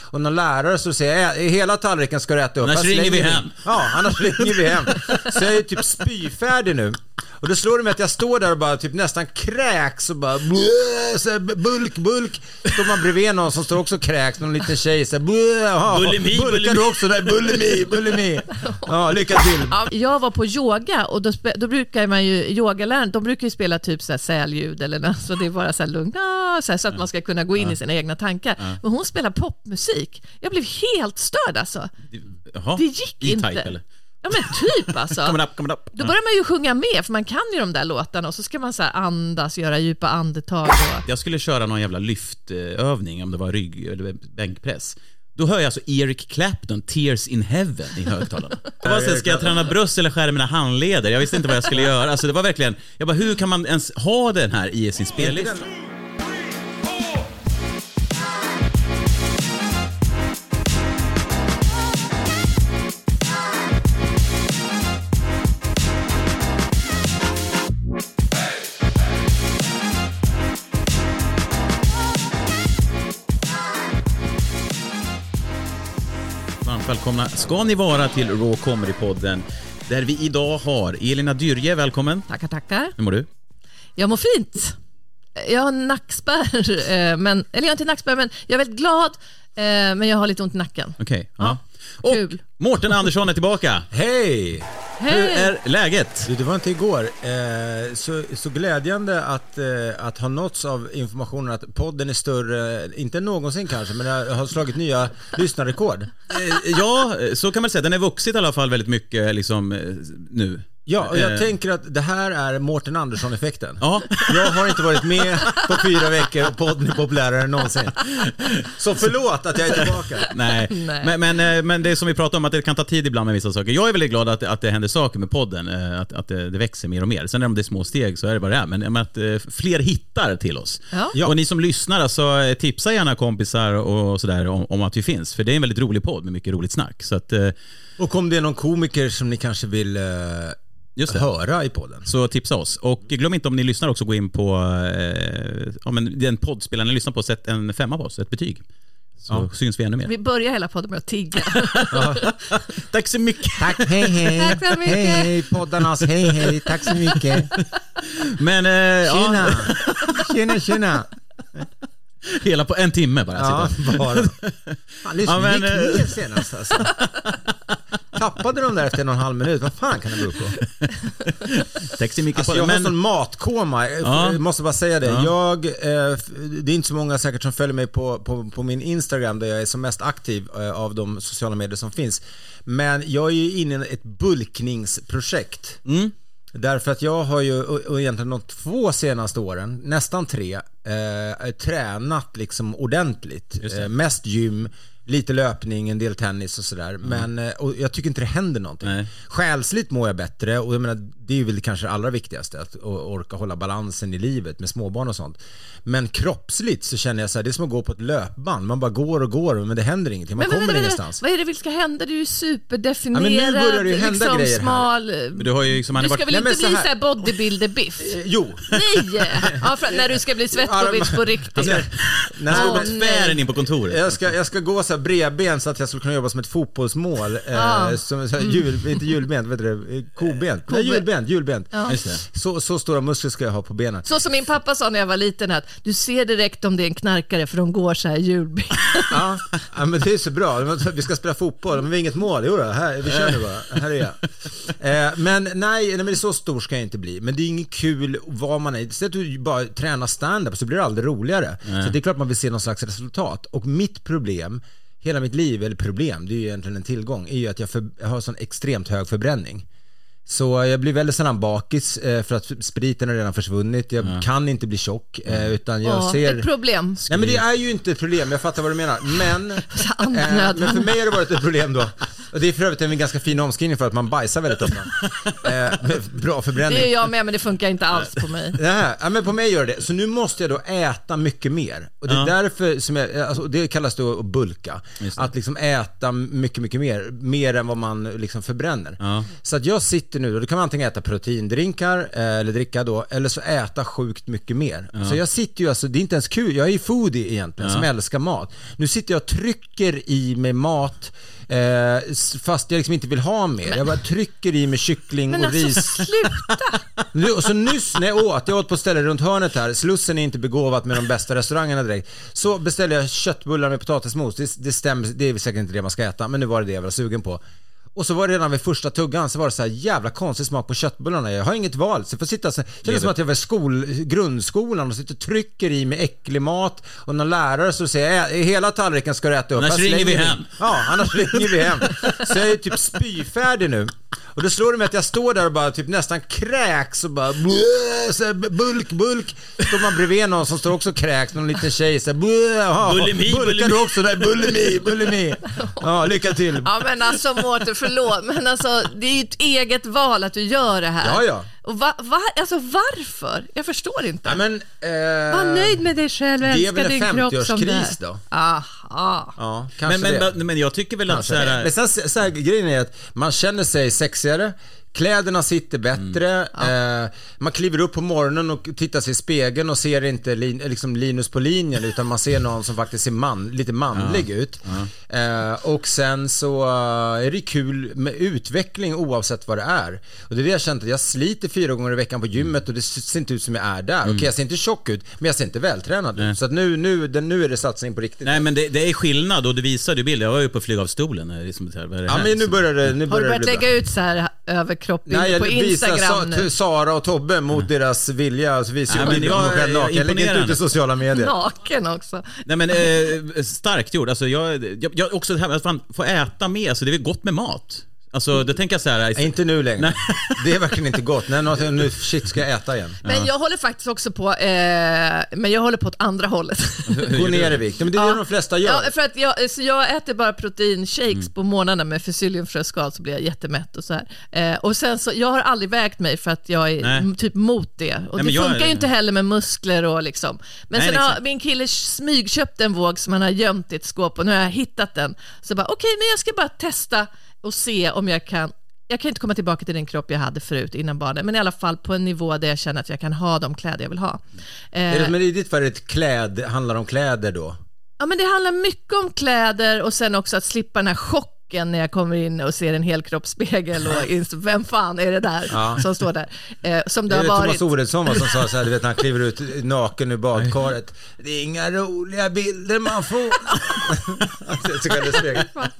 och någon lärare som säger i hela tallriken ska du äta upp. Annars Här ringer vi slänger hem. Ja, annars ringer vi hem. Så jag är typ spyfärdig nu. Och då slår det mig att jag står där och bara typ nästan kräks och bara "Bleh", så här, bulk, bulk. Står man bredvid någon som står också och kräks, någon liten tjej så här, "Bleh", ja, Bulimi, Bulkar bulimi. du också där? Bulimi, bulimi. Ja, lycka till. Ja, jag var på yoga och då, spe- då brukar man ju, yogaläraren, de brukar ju spela typ så här säljud eller något, så det är bara så här lugnt, ah, så, här, så att man ska kunna gå in i sina egna tankar. Men hon spelar popmusik. Jag blev helt störd alltså. Jaha, Det gick E-Type, inte. eller? Ja men typ alltså. Coming up, coming up. Då börjar man ju sjunga med, för man kan ju de där låtarna och så ska man så här andas, göra djupa andetag. Och... Jag skulle köra någon jävla lyftövning, om det var rygg eller bänkpress. Då hör jag alltså Eric Clapton, Tears in Heaven, i högtalarna. Jag bara, så här, ska jag träna bröst eller skära mina handleder? Jag visste inte vad jag skulle göra. Alltså, det var verkligen, jag bara, hur kan man ens ha den här i sin spellista? Varmt välkomna ska ni vara till Raw Comedy-podden, där vi idag har Elina Dyrje, välkommen. Tackar, tackar. Hur mår du? Jag mår fint. Jag har nackspärr, eh, men, eller jag har inte nackspärr, men jag är väldigt glad, eh, men jag har lite ont i nacken. Okej. ja. Och kul. Mårten Andersson är tillbaka. Hej! Hur Hej! är läget? Du, det var inte igår. Eh, så, så glädjande att, eh, att ha nåtts av informationen att podden är större, eh, inte än någonsin kanske, men jag har slagit nya lyssnarrekord. Eh, Ja, eh, så kan man säga. Den har vuxit i alla fall väldigt mycket liksom, eh, nu. Ja, och jag Eh. tänker att det här är Mårten Andersson-effekten. Ja. Jag har inte varit med på fyra veckor och podden är populärare än någonsin. Så förlåt att jag är tillbaka. Nej, Nej. Men, men, eh, men det är som vi pratade om, att det kan ta tid ibland med vissa saker. Jag är väldigt glad att, att det händer saker med podden, eh, att, att det, det växer mer och mer. Sen om det är små steg så är det vad det är, men men att eh, fler hittar till oss. Ja. Ja. Och ni som lyssnar, alltså, eh, tipsa gärna kompisar och sådär om, om att vi finns, för det är en väldigt rolig podd med mycket roligt snack. Så att, eh, Och om det är någon komiker som ni kanske vill eh, just det. höra i podden. Så tipsa oss. Och glöm inte om ni lyssnar också gå in på eh, ja, men den poddspelaren ni lyssnar på, sätt en femma på oss, ett betyg. Så syns vi ännu mer. Vi börjar hela podden med att tigga. Tack så mycket. Tack, hej hej. Tack så mycket. Hej hej, poddarnas, hej hej, tack så mycket. Men eh, ja, Tjena, tjena, tjena. hela på en timme bara. Ja, sitter. bara. Fan, lyssna, Ja, men, eh, gick ner senast alltså. Tappade de där efter någon halv minut, vad fan kan det bero på? Tack så mycket. Alltså på det. jag har Alltså, men, sån matkoma, Eh, Jag Ja. måste bara säga det. Ja. Jag, eh, f- det är inte så många säkert som följer mig på, på, på min Instagram där jag är som mest aktiv eh, av de sociala medier som finns. Men jag är ju inne i ett bulkningsprojekt. Mm. Därför att jag har ju, och och egentligen de två senaste åren, nästan tre, eh, tränat liksom ordentligt. Eh, mest gym, lite löpning, en del tennis och sådär. Men eh, och jag tycker inte det händer någonting. Nej. Själsligt mår jag bättre och jag menar, det är väl kanske det allra viktigaste, att o- orka hålla balansen i livet med småbarn och sånt. Men kroppsligt så känner jag så här, det är som att gå på ett löpband. Man bara går och går, men det händer ingenting. Man Men vänta, kommer vänta, ingenstans. Vad är det vilka händer? Du är ju superdefinierad, Ja, men nu börjar det ju hända liksom grejer här. smal. men du har ju liksom, han Du har ska varit, väl Nej, men inte så bli här. så här bodybuilder-biff? Eh, Jo. Nej! Ja, för, när du ska bli svettbovic på riktigt. Nej. Nej, han men- har varit tvären in på kontoret. Jag ska, jag ska gå så här bredben så att jag skulle kunna jobba som ett fotbollsmål. Eh, Ja. som, så här, jul, inte julbent, vet du det? Eh, Kobent. Nej, Kobe- julbent, julbent. Just det. Så, så stora muskler ska jag ha på benen. Så som min pappa sa när jag var liten, att du ser direkt om det är en knarkare för de går så här julben. Ja, ja, men det är så bra. Vi ska spela fotboll, men vi har inget mål. Jo då, här, vi kör nu bara. Här är jag. Eh, Men nej, nej, men det är så stor ska jag inte bli. Men det är inget kul vad man är. Säg att du bara tränar stand-up så blir det aldrig roligare. Så det är klart man vill se någon slags resultat. Och mitt problem, hela mitt liv, eller problem, det är ju egentligen en tillgång, är ju att jag, för, jag har sån extremt hög förbränning. Så jag blir väldigt sällan bakis eh, för att spriten har redan försvunnit. Jag kan inte bli tjock eh, utan jag Ja, ser... Ett problem. Nej men det är ju inte ett problem, jag fattar vad du menar. Men, eh, andnöd. men för mig har det varit ett problem då. Och det är för övrigt en ganska fin omskrivning för att man bajsar väldigt ofta. eh, med bra förbränning. Det är jag med, men det funkar inte alls på mig. Det här, ja, men på mig gör det Så nu måste jag då äta mycket mer. Och det är därför som jag, alltså, det kallas då att bulka. Att liksom äta mycket, mycket mer. Mer än vad man liksom förbränner. Ja. Så att jag sitter nu, och då kan man antingen äta proteindrinkar, eh, eller dricka då, eller så äta sjukt mycket mer. Så jag sitter ju alltså, det är inte ens kul, jag är ju foodie egentligen, som älskar mat. Nu sitter jag och trycker i mig mat, eh, s- fast jag liksom inte vill ha mer. Jag bara trycker i mig kyckling Men och alltså ris. sluta! Nu, och så nyss när jag åt, jag åt på stället runt hörnet här, Slussen är inte begåvat med de bästa restaurangerna direkt. Så beställde jag köttbullar med potatismos, det, det stämmer, det är säkert inte det man ska äta, men nu var det det jag var sugen på. Och så var det redan vid första tuggan så var det så här jävla konstig smak på köttbullarna. Jag har inget val. Så jag får sitta så känns som att jag var i skol, grundskolan och sitter och trycker i mig äcklig mat och någon lärare så säger "Ä- hela tallriken ska du äta upp. Annars Här ringer vi slänger hem." Ja, annars ringer vi hem. Så jag är typ spyfärdig nu. Och då slår det mig att jag står där och bara typ nästan kräks och bara "Bleh", så här, bulk, bulk. Står man bredvid någon som står också och kräks, någon liten tjej så här, "Bleh, jaha, Bulimi, Bulkar bulimi." du också? Nej, bulimi, bulimi. Ja, lycka till. Ja men alltså Mårten, förlåt, men alltså det är ju ett eget val att du gör det här. Ja, ja. Och va, va, alltså varför? Jag förstår inte. Ja, men, eh, Var nöjd med dig själv och det är älska väl en din kropp som du 50-årskris är. då? Aha. Ja, Men, kanske men, det. men, men jag tycker väl att Kanske så det. här, Men sen så här, grejen är att man känner sig sexigare, kläderna sitter Mm. bättre, eh, man kliver upp på morgonen och tittar sig i spegeln och ser inte lin, liksom Linus på linjen utan man ser någon som faktiskt ser man, lite manlig ut. Eh, och sen så eh, är det kul med utveckling oavsett vad det är. Och det är det jag känt att jag sliter fyra gånger i veckan på gymmet och det ser inte ut som jag är där. Mm. Okej, jag ser inte tjock ut, men jag ser inte vältränad ut. Så att nu, nu, den- nu är det satsning på riktigt. Nej men det, det är skillnad och du visade ju bilder. Jag var ju på att flyga av stolen. Det är Liksom, så här, vad är det Ja här? men nu börjar det, nu Har börjar det du börjat bli bra. lägga ut så här överkroppsbilder på Instagram Sa- nu? till Sara och Tobbe mot deras vilja. Alltså, visar Mm. Nej, ju men bilder på jag- mig själv jag naken. Jag lägger inte ut imponerande. i sociala medier. Naken också. Nej men eh, starkt gjort. Alltså, jag, jag, jag också det här med att fan, få äta mer, alltså, det är väl gott med mat? Alltså då tänker jag så här... Mm. Nej, inte nu längre. Det är verkligen inte gott. Nej, något, nu shit ska jag äta igen. Men jag håller faktiskt också på, eh, men jag håller på åt andra hållet. Gå ner i vikt. Men det är det de flesta gör. Ja, för att jag, så jag äter bara proteinshakes Mm. på morgnarna med fysilliumfröskal så blir jag jättemätt och så här. Eh, och sen så, jag har aldrig vägt mig för att jag är Nej. m- typ mot det. Och men det jag- funkar ju inte heller med muskler och liksom. Men Nej, sen har exakt. min kille smygköpt en våg som han har gömt i ett skåp och nu har jag hittat den. Så bara, okej, men jag ska bara testa och se om jag kan jag kan inte komma tillbaka till den kropp jag hade förut innan barnen, men i alla fall på en nivå där jag känner att jag kan ha de kläder jag vill ha. Eh, Är det, men i ditt fall är det ett kläd, handlar om kläder då? Ja, men det handlar mycket om kläder och sen också att slippa den här chocken när jag kommer in och ser en helkroppsspegel och inser, vem fan är det där som står där? Eh, som det Det är har det varit. Thomas Oredsson va, som sa så här, du vet när han kliver ut naken ur badkaret. Det är inga roliga bilder man får. Alltså, jag tycker det är snyggt.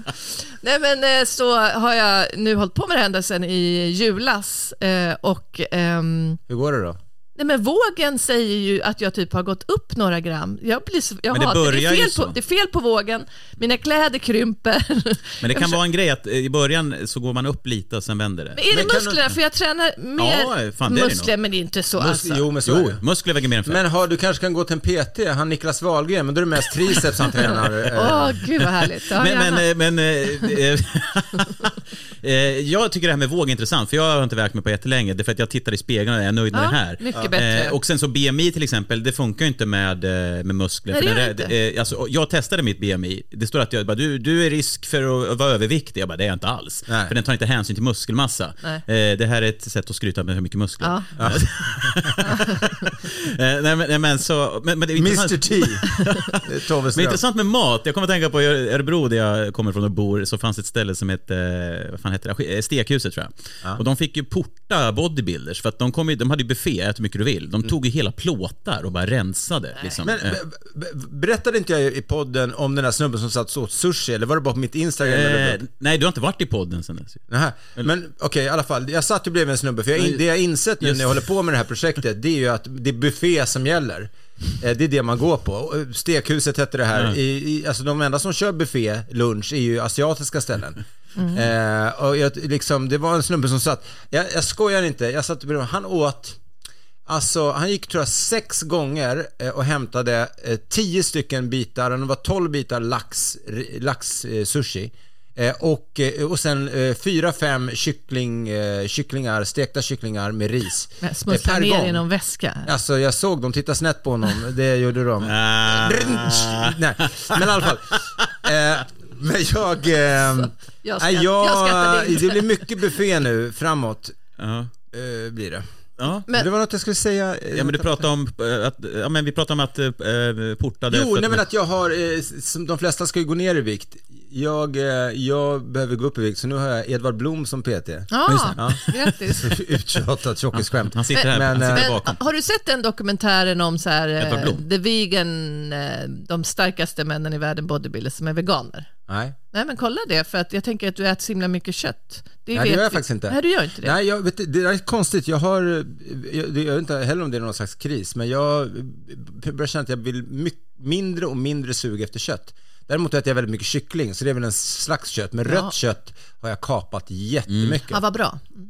Nej men eh, så har jag nu hållit på med det här ända sedan i julas eh, och ehm, Hur går det då? Nej men vågen säger ju att jag typ har gått upp några gram. Jag blir så, jag Men det hatar- börjar det, ju är fel så. på, det är fel på vågen, mina kläder krymper. Men det kan vara en grej att eh, i början så går man upp lite och sen vänder det. Men är det Men kan du- musklerna? För jag tränar mer Ja, fan, det är det nog. muskler men det är inte så Mus- alltså. Jo men så är Jo, det. muskler väger mer än fett. Men har, du kanske kan gå till en PT, han Niklas Wahlgren, men då är det mest triceps han tränar. eh. Åh, gud vad härligt. Ja, gärna. men, men, men, eh, eh, eh, jag tycker det här med våg är intressant, för jag har inte vägt mig på jättelänge. Det är för att jag tittar i spegeln och är nöjd med Ja, det här. mycket bättre. Eh, Eh, och sen så BMI till exempel, det funkar ju inte med, eh, med muskler. Nej, för det den gör det eh, alltså, och jag testade mitt BMI. Det står att jag bara, du, du är risk för att vara överviktig. Jag bara, det är jag inte alls. Nej. För den tar inte hänsyn till muskelmassa. Nej. Eh, det här är ett sätt att skryta med hur mycket muskler. Ja. eh, nej, men, nej, men, så, men, men det är intressant- Mr T. Det är Tove men Ström. intressant med mat. Jag kommer att tänka på i Örebro där jag kommer från och bor, så fanns ett ställe som hette, vad fan hette det? Sk- eh, Stekhuset tror jag. Och de fick ju porta bodybuilders för att de, kom ju, de hade ju buffé, ät hur mycket du vill. De tog ju hela plåtar och bara rensade. Liksom. Mm. Men Eh, be- be- berättade inte jag i podden om den där snubben som satt och åt sushi, eller var det bara på mitt Instagram? eh, eller? nej, du har inte varit i podden sen dess. Nähä. Men okej, i alla fall. Jag satt ju bredvid en snubbe, för jag, in- det jag insett nu när jag håller på med det här projektet, det är ju att det är buffé som gäller. Eh, Det är det man går på. Och, eh, Stekhuset hette det här. I, i, alltså de enda som kör buffé, lunch, är ju asiatiska ställen. Eh, och jag, liksom, det var en snubbe som satt, jag, jag skojar inte, jag satt bredvid han åt Alltså han gick tror jag sex gånger eh, och hämtade eh, tio stycken bitar, och det var tolv bitar lax, r- lax eh, sushi. Eh, Och, eh, och sen eh, fyra, fem kyckling, eh, kycklingar, stekta kycklingar med ris. Men Eh, Smussla per ner gång. i någon väska. Alltså jag såg dem titta snett på honom, det gjorde de. Ah. Äh. Nej, men i alla fall. Eh, men jag... Eh, Alltså, jag nej, skratt- jag skrattade inte. Det blir mycket buffé nu framåt. Ja. Eh, blir det. Ja. Men- det var något jag skulle säga. eh, Ja men du pratade om eh, att, ja men vi pratade om att eh, portade... Jo, för nej att- men att jag har, eh, som de flesta ska ju gå ner i vikt. Jag, eh, jag behöver gå upp i vikt, så nu har jag Edvard Blom som PT. Ja, grattis. Uttjatat tjockisskämt. Han sitter här, Men, han sitter eh, bakom. Men har du sett den dokumentären om så här, Edvard eh, Blom? the vegan, eh, de starkaste männen i världen, bodybuilders, som är veganer? Nej. Nej men kolla det, för att jag tänker att du äter så himla mycket kött. Nej, det vet gör jag vi- faktiskt inte. Nej, du gör inte det. Nej, jag vet, det där är konstigt. Jag har, eh, jag, jag vet inte heller om det är någon slags kris, men jag eh, börjar känna att jag vill mycket, mindre och mindre sug efter kött. Däremot äter jag väldigt mycket kyckling, så det är väl en slags kött. Men Ja. rött kött har jag kapat Mm. jättemycket. Ja, vad bra. Mm.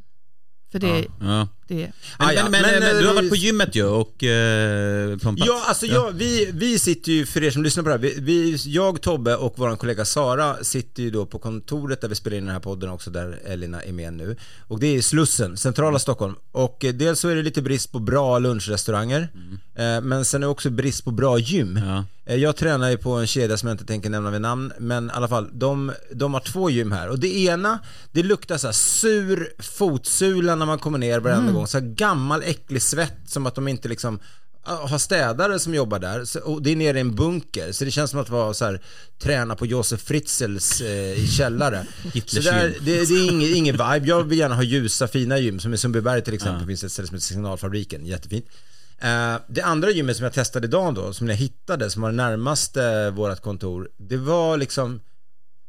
För det, Ja. det Men, Ah, ja. men, men, Men, men du har eh, varit på gymmet ju och eh, pumpat. Ja, alltså jag, vi, vi sitter ju, för er som lyssnar på det här, vi, vi, jag, Tobbe och vår kollega Sara sitter ju då på kontoret där vi spelar in den här podden också, där Elina är med nu. Och det är i Slussen, centrala Stockholm. Och eh, dels så är det lite brist på bra lunchrestauranger, eh, men sen är det också brist på bra gym. Ja. Eh, Jag tränar ju på en kedja som jag inte tänker nämna vid namn, men i alla fall, de, de har två gym här. Och det ena, det luktar så här sur fotsula när man kommer ner varenda Mm. gång. Så här gammal äcklig svett som att de inte liksom ah, har städare som jobbar där Så- och det är nere i en bunker så det känns som att vara så här, träna på Josef Fritzels eh, i källare. så Hitlers där, gym. det, det är ingen, ingen vibe. Jag vill gärna ha ljusa fina gym som i Sundbyberg till exempel finns ett ställe som heter Signalfabriken, jättefint. Eh, det andra gymmet som jag testade idag då, som jag hittade, som var det närmaste vårt kontor, det var liksom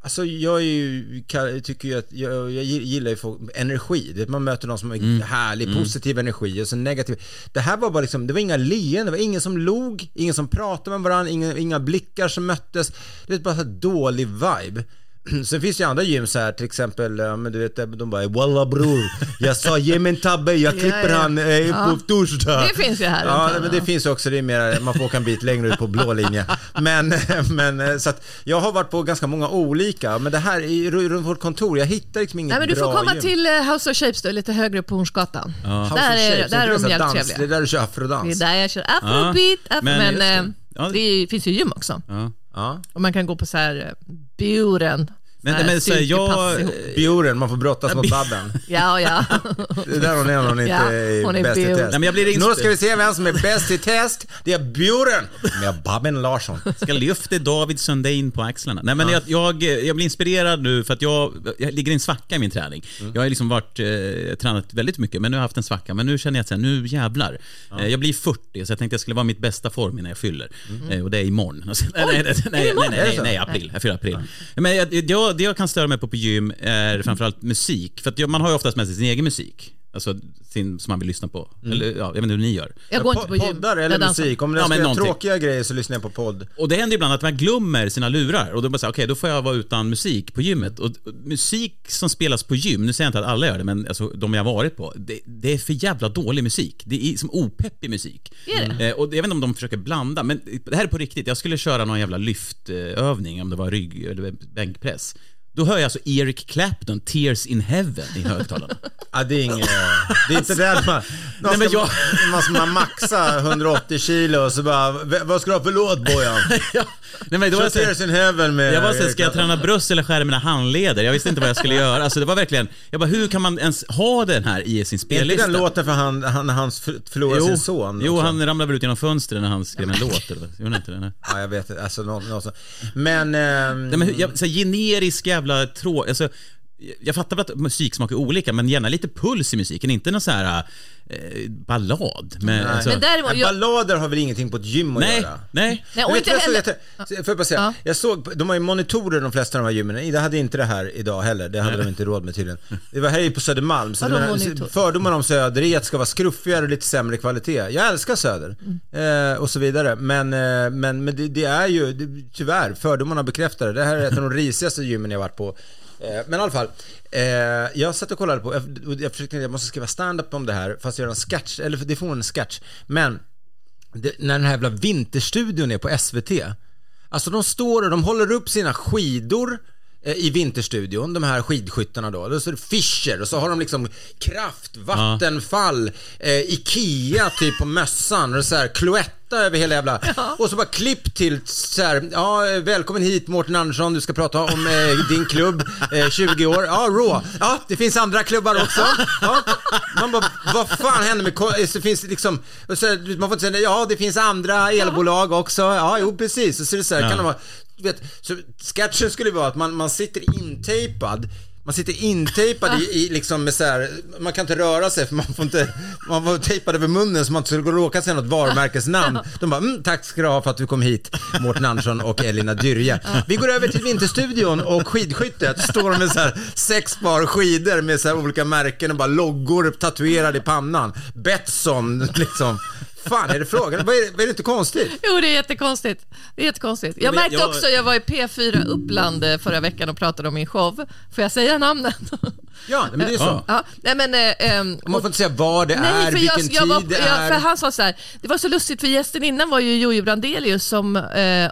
Alltså jag är ju, kall- tycker ju att, jag, jag gillar ju folk, energi. Du vet, man möter någon som är härlig, positiv energi och så negativ. Det här var bara liksom, det var inga leenden, det var ingen som log, ingen som pratade med varandra, inga, inga blickar som möttes. Det är bara så här dålig vibe. Sen finns det ju andra gym så här, till exempel, ja, men du vet, de bara “Walla bror, jag sa ge mig en tabbe, jag klipper ja. han eh, Ja. på torsdag”. Det finns ju här Ja, runt om, men det ja. finns ju också, det är mer, man får åka en bit längre ut på blå linje. Men, men eh, så att jag har varit på ganska många olika, men det här i runt vårt kontor, jag hittar liksom inget Nej, men du får bra komma gym. till eh, House of Shapes då, lite högre upp på Hornsgatan. House Där of är, Shapes, där är det de så här jävligt dans, Det är trevliga. där du kör Det är afrodans. där jag kör afrobeat, Alltså. Ja, afro, men men, just det. eh, Ja, det- det är- finns ju gym också. Ja. Ja. Och man kan gå på så här eh, buren, Men, så här men så här, styrkepass jag... ihop. Bjuren, man får brottas mot Babben. Ja, ja. Det är där hon är när hon inte Ja, är, hon är bäst i bjur. test. Nej, men jag blir inst- Nu ska vi se vem som är bäst i test. Det är Bjuren med Babben Larsson. Ska lyfta David Sundin på axlarna. Nej, men jag, jag, jag blir inspirerad nu för att jag, jag ligger i en svacka i min träning. Mm. Jag har liksom varit, eh, tränat väldigt mycket, men nu har jag haft en svacka. Men nu känner jag att så här, nu jävlar. Eh, jag blir 40, så jag tänkte jag skulle vara i mitt bästa form innan jag fyller. Eh, och det är imorgon. Alltså, nej, nej, nej, nej, nej, Mm. Är det nej, så? nej, april. Jag fyller april. Men jag, jag, det jag kan störa mig på på gym är framförallt musik. För att jag, man har ju oftast med sig sin egen musik. Alltså sin, som man vill lyssna på. Mm. Eller, ja, jag vet inte hur ni gör. Jag går inte på gym. Poddar Jag eller dansar. musik. Om det Ja, ska men göra någonting. tråkiga grejer så lyssnar jag på podd. Och det händer ibland att man glömmer sina lurar och då bara så här, okej, då får jag vara utan musik på gymmet. Och och musik som spelas på gym, nu säger jag inte att alla gör det, men alltså, de jag har varit på, det, det är för jävla dålig musik. Det är som opeppig musik. Är det? Eh, och jag vet inte om de försöker blanda, men det här är på riktigt. Jag skulle köra någon jävla lyftövning, om det var rygg eller bänkpress. Då hör jag alltså Eric Clapton, Tears in Heaven, i högtalarna. Ja, det är inget... Det är inte där man... Nej, men ska, jag- man ska man maxa 180 kilo och så bara, "V- vad ska du ha för låt Bojan? ja. Nej, men då Kör var jag så här- Tears in heaven med... Jag bara såhär, ska jag träna bröst eller skära mina handleder? Jag visste inte vad jag skulle göra. Alltså det var verkligen, jag bara, hur kan man ens ha den här i sin Är inte spellista? den låten för han, han, han förlorade sin son? jo också? han ramlade väl ut genom fönstret när han skrev en låt eller vad? Gjorde han inte det? Nej. Ja, jag vet inte. Alltså, någon, någon sån. Men... ehm, Nej, men hur- jag, så här, generisk jävla trå... Alltså, jag- jag fattar väl att musiksmak är olika, men gärna lite puls i musiken. Inte någon så här eh, ballad. Med, alltså, Men däremot, jag, Ballader har väl ingenting på ett gym att nej, göra? nej. nej, och Vet inte du vad heller... jag såg? Jag t- Får jag bara säga, Ja. jag såg, de har ju monitorer de flesta av de här gymmen. Det hade inte det här idag heller, det hade de inte råd med tydligen. Det var här ju på Södermalm, så Vadå jag menar, monitor? fördomar om Söder är att det ska vara skruffigare och lite sämre kvalitet. Jag älskar Söder Mm. eh, och så vidare, men, eh, men, men det, det är ju det, tyvärr, fördomarna bekräftar det. Det här är ett av de risigaste gymmen jag varit på. Eh, Men i alla fall, eh, jag satt och kollade på, jag, och jag försökte, jag måste skriva stand-up om det här, fast göra en sketch, eller det får en sketch. Men det, när den här jävla vinterstudion är på SVT. Alltså de står och de håller upp sina skidor eh, i Vinterstudion, de här skidskyttarna då. Då står det Fischer och så har de liksom kraft, vattenfall, eh, Ikea typ på mössan och så här Cloetta över hela jävla... Och så bara klipp till så här, ja välkommen hit Mårten Andersson, du ska prata om eh, din klubb, eh, 20 år, ja Raw, ja det finns andra klubbar också. Ja. Man bara, vad fan hände med, ko- eh, så finns det liksom, och så, här, man får inte säga, ja det finns andra elbolag också, ja jo precis, och så är det så här, kan de vara, du vet, så sketchen skulle vara att man, man sitter intejpad man sitter intejpad i, i liksom med så här, man kan inte röra sig för man får inte, man var tejpad över munnen så man inte skulle råka säga något varumärkesnamn. De bara, mm, tack ska du ha för att du kom hit, Mårten Andersson och Elina Dyrje. Vi går över till Vinterstudion och skidskyttet. Står de med så här sex par skidor med så här olika märken och bara loggor tatuerade i pannan. Betsson, liksom. Fan är det frågan? Vad är, vad är det inte konstigt? Jo, det är jättekonstigt. Det är jättekonstigt. Jag men märkte jag- också, jag var i P4 Uppland eh, förra veckan och pratade om min show. Får jag säga namnet? Ja, men det är så. Ja. ja, nej men... eh, ehm, Man får inte säga vad det är, vilken tid var- det jag- är. för han sa så här, det var så lustigt för gästen innan var ju Jojo Brandelius som eh,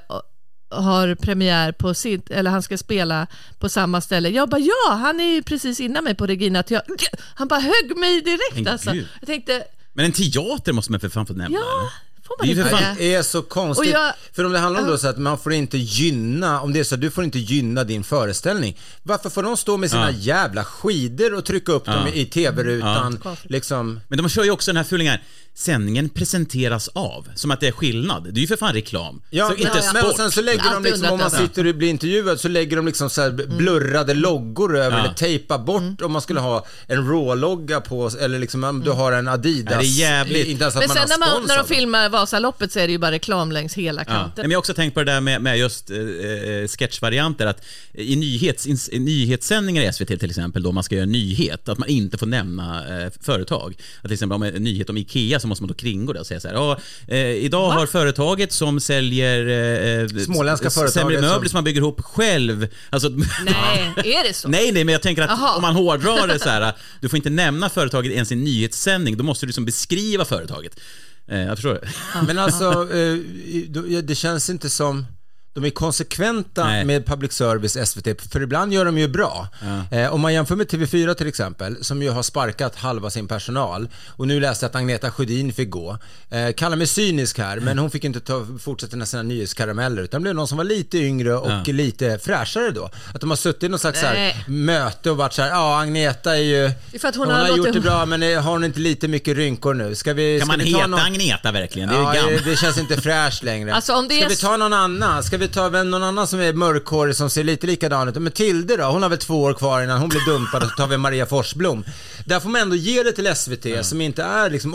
har premiär på sitt, eller han ska spela på samma ställe. Jag bara ja, han är ju precis innan mig på Regina teater. Han bara högg mig direkt Men alltså. gud. Jag tänkte, Men en teater måste man för fan få nämna. ja, får man Det är ju inte för fan- det? Det är så Och konstigt. jag- För om det handlar om då så att man får inte gynna, om det är så att du får inte gynna din föreställning. Varför får de stå med sina Ja. jävla skidor och trycka upp dem i tv-rutan? Ja. Liksom. Men de kör ju också den här fulingen här, sändningen presenteras av. Som att det är skillnad. Det är ju för fan reklam. Ja, så inte men, sport. men och sen så lägger de Alltid liksom, undrat om man detta. sitter och blir intervjuad så lägger de liksom så här Mm. blurrade loggor över Ja. eller tejpar bort om man skulle ha en Raw-logga på eller liksom om du har en Adidas. Ja, det är jävligt. Inte ens att Mm. Men man sen när, har man, när de sponsor. filmar Vasaloppet så är det ju bara reklam längs hela Ja. Nej, kanten. men jag har också tänkt på det där med, med just eh, eh, sketchvarianter. Att I nyhets, in, i nyhetssändningar i SVT till exempel, då man ska göra en nyhet, att man inte får nämna eh, företag. Att till exempel om en nyhet om IKEA så måste man då kringgå det och säga så här. Ja, eh, idag har företaget som säljer eh, eh, Småländska s- företaget sämre möbler som- som... man bygger ihop själv. Alltså, Nej, är det så? Nej, nej, men jag tänker att Aha. om man hårdrar det så här, du får inte nämna företaget ens i en nyhetssändning, då måste du liksom beskriva företaget. Eh, jag förstår. Men alltså, eh, då- ja, det känns inte som... De är konsekventa Nej. med public service, SVT, för ibland gör de ju bra. Eh, om man jämför med TV4 till exempel, som ju har sparkat halva sin personal. Och nu läste jag att Agneta Sjödin fick gå. Eh, kalla mig cynisk här, men hon fick inte ta, fortsätta med sina nyhetskarameller, utan det blev någon som var lite yngre och lite fräschare då. Att de har suttit i någon slags så här, Nej. möte och varit så här, ja Agneta är ju... Det är för att hon hon har har gjort låtit- det bra, men eh, har hon inte lite mycket rynkor nu? Ska vi, Kan ska man vi ta heta någon- Agneta verkligen? Det är Ja, ju gammalt. det, det känns inte fräscht längre. Alltså, om det Ska är vi s- ta någon annan? Ska vi ta vem, någon annan som är mörkhårig som ser lite likadan ut? Men Tilde då? Hon har väl två år kvar innan hon blir dumpad och så tar vi Maria Forsblom. Där får man ändå ge det till SVT som inte är liksom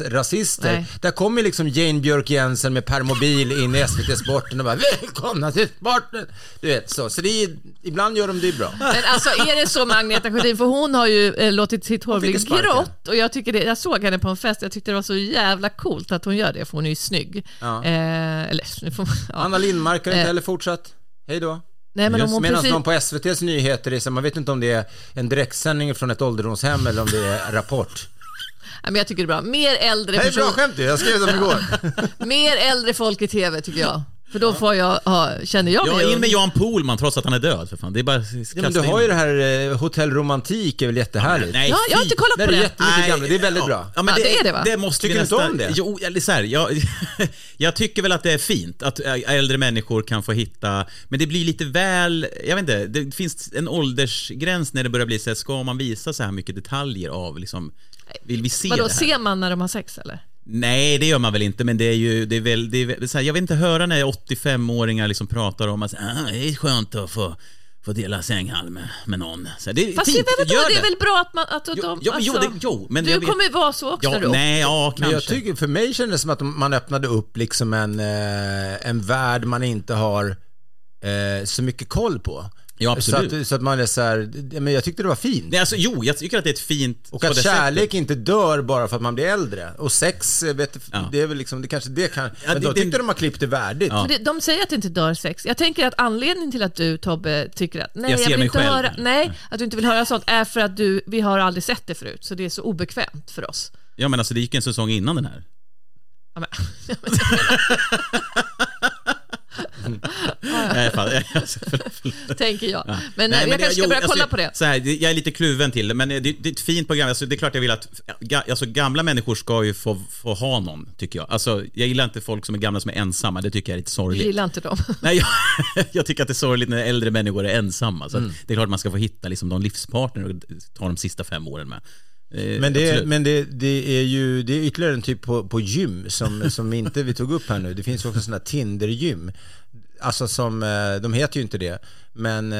åldersrasister. Nej. Där kommer liksom Jane Björk Jensen med permobil in i SVT Sporten och bara “Välkomna till sporten!” Du vet så. Så det är, ibland gör de det bra. Men alltså är det så med Agneta Sjödin? För hon har ju eh, låtit sitt hår bli fick ju sparken. grått och jag, tycker det, jag såg henne på en fest jag tyckte det var så jävla coolt att hon gör det för hon är ju snygg. Ja. Eh, eller, nu får man, ja. Anna Lindmark har inte Eh. heller fortsatt. Hej då. Nej men om Just- hon Medan precis... de på SVTs nyheter, är, så- man vet inte om det är en direktsändning från ett ålderdomshem eller om det är Rapport. Ja, men jag tycker det är bra. Mer äldre, Nej, bra person, skämt ju. Jag skrev dem igår. mer äldre folk i tv tycker jag. För då får jag, ha, känner jag Ja, in ung. med Jan Pohlman trots att han är död för fan. Det är bara att kasta Ja, men du har in. ju det här eh, Hotell Romantik är väl jättehärligt? Nej, Ja, jag har fy. inte kollat Där på är det. jättemycket Nej, gamla. Det är väldigt ja. bra. Ja, men Ja, det är det, va? Det måste Tycker vi du inte nästan, om det? Jo, eller så här, jag, jag tycker väl att det är fint att ä- äldre människor kan få hitta, men det blir lite väl, jag vet inte, det finns en åldersgräns när det börjar bli så här, ska man visa så här mycket detaljer av liksom, vill vi se Vadå, det här? ser man när de har sex eller? Nej, det gör man väl inte, men det är ju... Det är väl, det är, väl- så här, jag vill inte höra när 85-åringar liksom pratar om att ah, det är skönt att få, få dela sänghalm med, med någon. Så här, det, är Fast fint, det, är väl, gör det är väl bra att, man, att de... alltså- Jo, jo, men jo, det- jo, men du jag vet- kommer ju vara så också Ja, då. nej, ja, Men kanske. jag tycker, för mig kändes det som att man öppnade upp liksom en, eh, en värld man inte har eh, så mycket koll på. Ja, absolut. Så att, så att man är så här, ja, men jag tyckte det var fint. Nej, alltså, jo, jag tycker att det är ett fint... Och på att det kärlek sättet. inte dör bara för att man blir äldre. Och sex, eh, vet, Ja. det är väl liksom, det kanske det kan... Ja, men det- då tyckte det- de har klippt det värdigt. Ja. För det, de säger att det inte dör sex. Jag tänker att anledningen till att du Tobbe tycker att nej, Jag jag, ser vill mig inte själv. höra, nej, att du inte vill höra sånt är för att du, vi har aldrig sett det förut, så det är så obekvämt för oss. Ja, men alltså det gick en säsong innan den här. Ja, men, jag fattar. Alltså, förlåt, förlåt. tänker jag. Men, eh, Nej, men jag det- kanske ska jo, börja alltså, kolla på det. Så här, det- jag är lite kluven till det, men det, det är ett fint program. Alltså, det är klart jag vill att ga, alltså, gamla människor ska ju få, få ha någon, tycker jag. Alltså, jag gillar inte folk som är gamla som är ensamma, det tycker jag är lite Jag sorgligt. gillar inte dem. Nej, jag, jag tycker att det är sorgligt när äldre människor är ensamma. Så att Det är klart man ska få hitta liksom, de livspartner och ta de sista fem åren med. Eh, Men, det, absolut. men det, det är ju det är ytterligare en typ på, på gym som, som inte vi tog upp här nu. Det finns ju också sådana här Tinder-gym. Alltså som, eh, de heter ju inte det, men eh,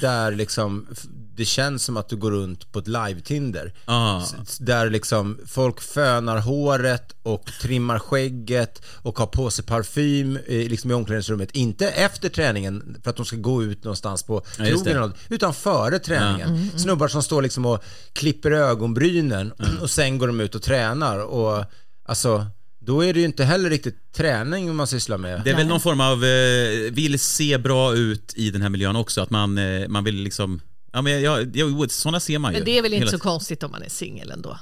där liksom f- det känns som att du går runt på ett live-Tinder. Ah. S- s- Där liksom folk fönar håret och trimmar skägget och har på sig parfym eh, liksom i omklädningsrummet. Inte efter träningen för att de ska gå ut någonstans på krogen just det. eller något, utan före träningen. Snubbar som står liksom och klipper ögonbrynen och sen går de ut och tränar. Och alltså, då är det ju inte heller riktigt träning man sysslar med. Det är väl Nej. någon form av, eh, vill se bra ut i den här miljön också, att man, eh, man vill liksom, ja men ja, ja, sådana ser man ju. Men det är väl inte hela så tiden. konstigt om man är singel ändå?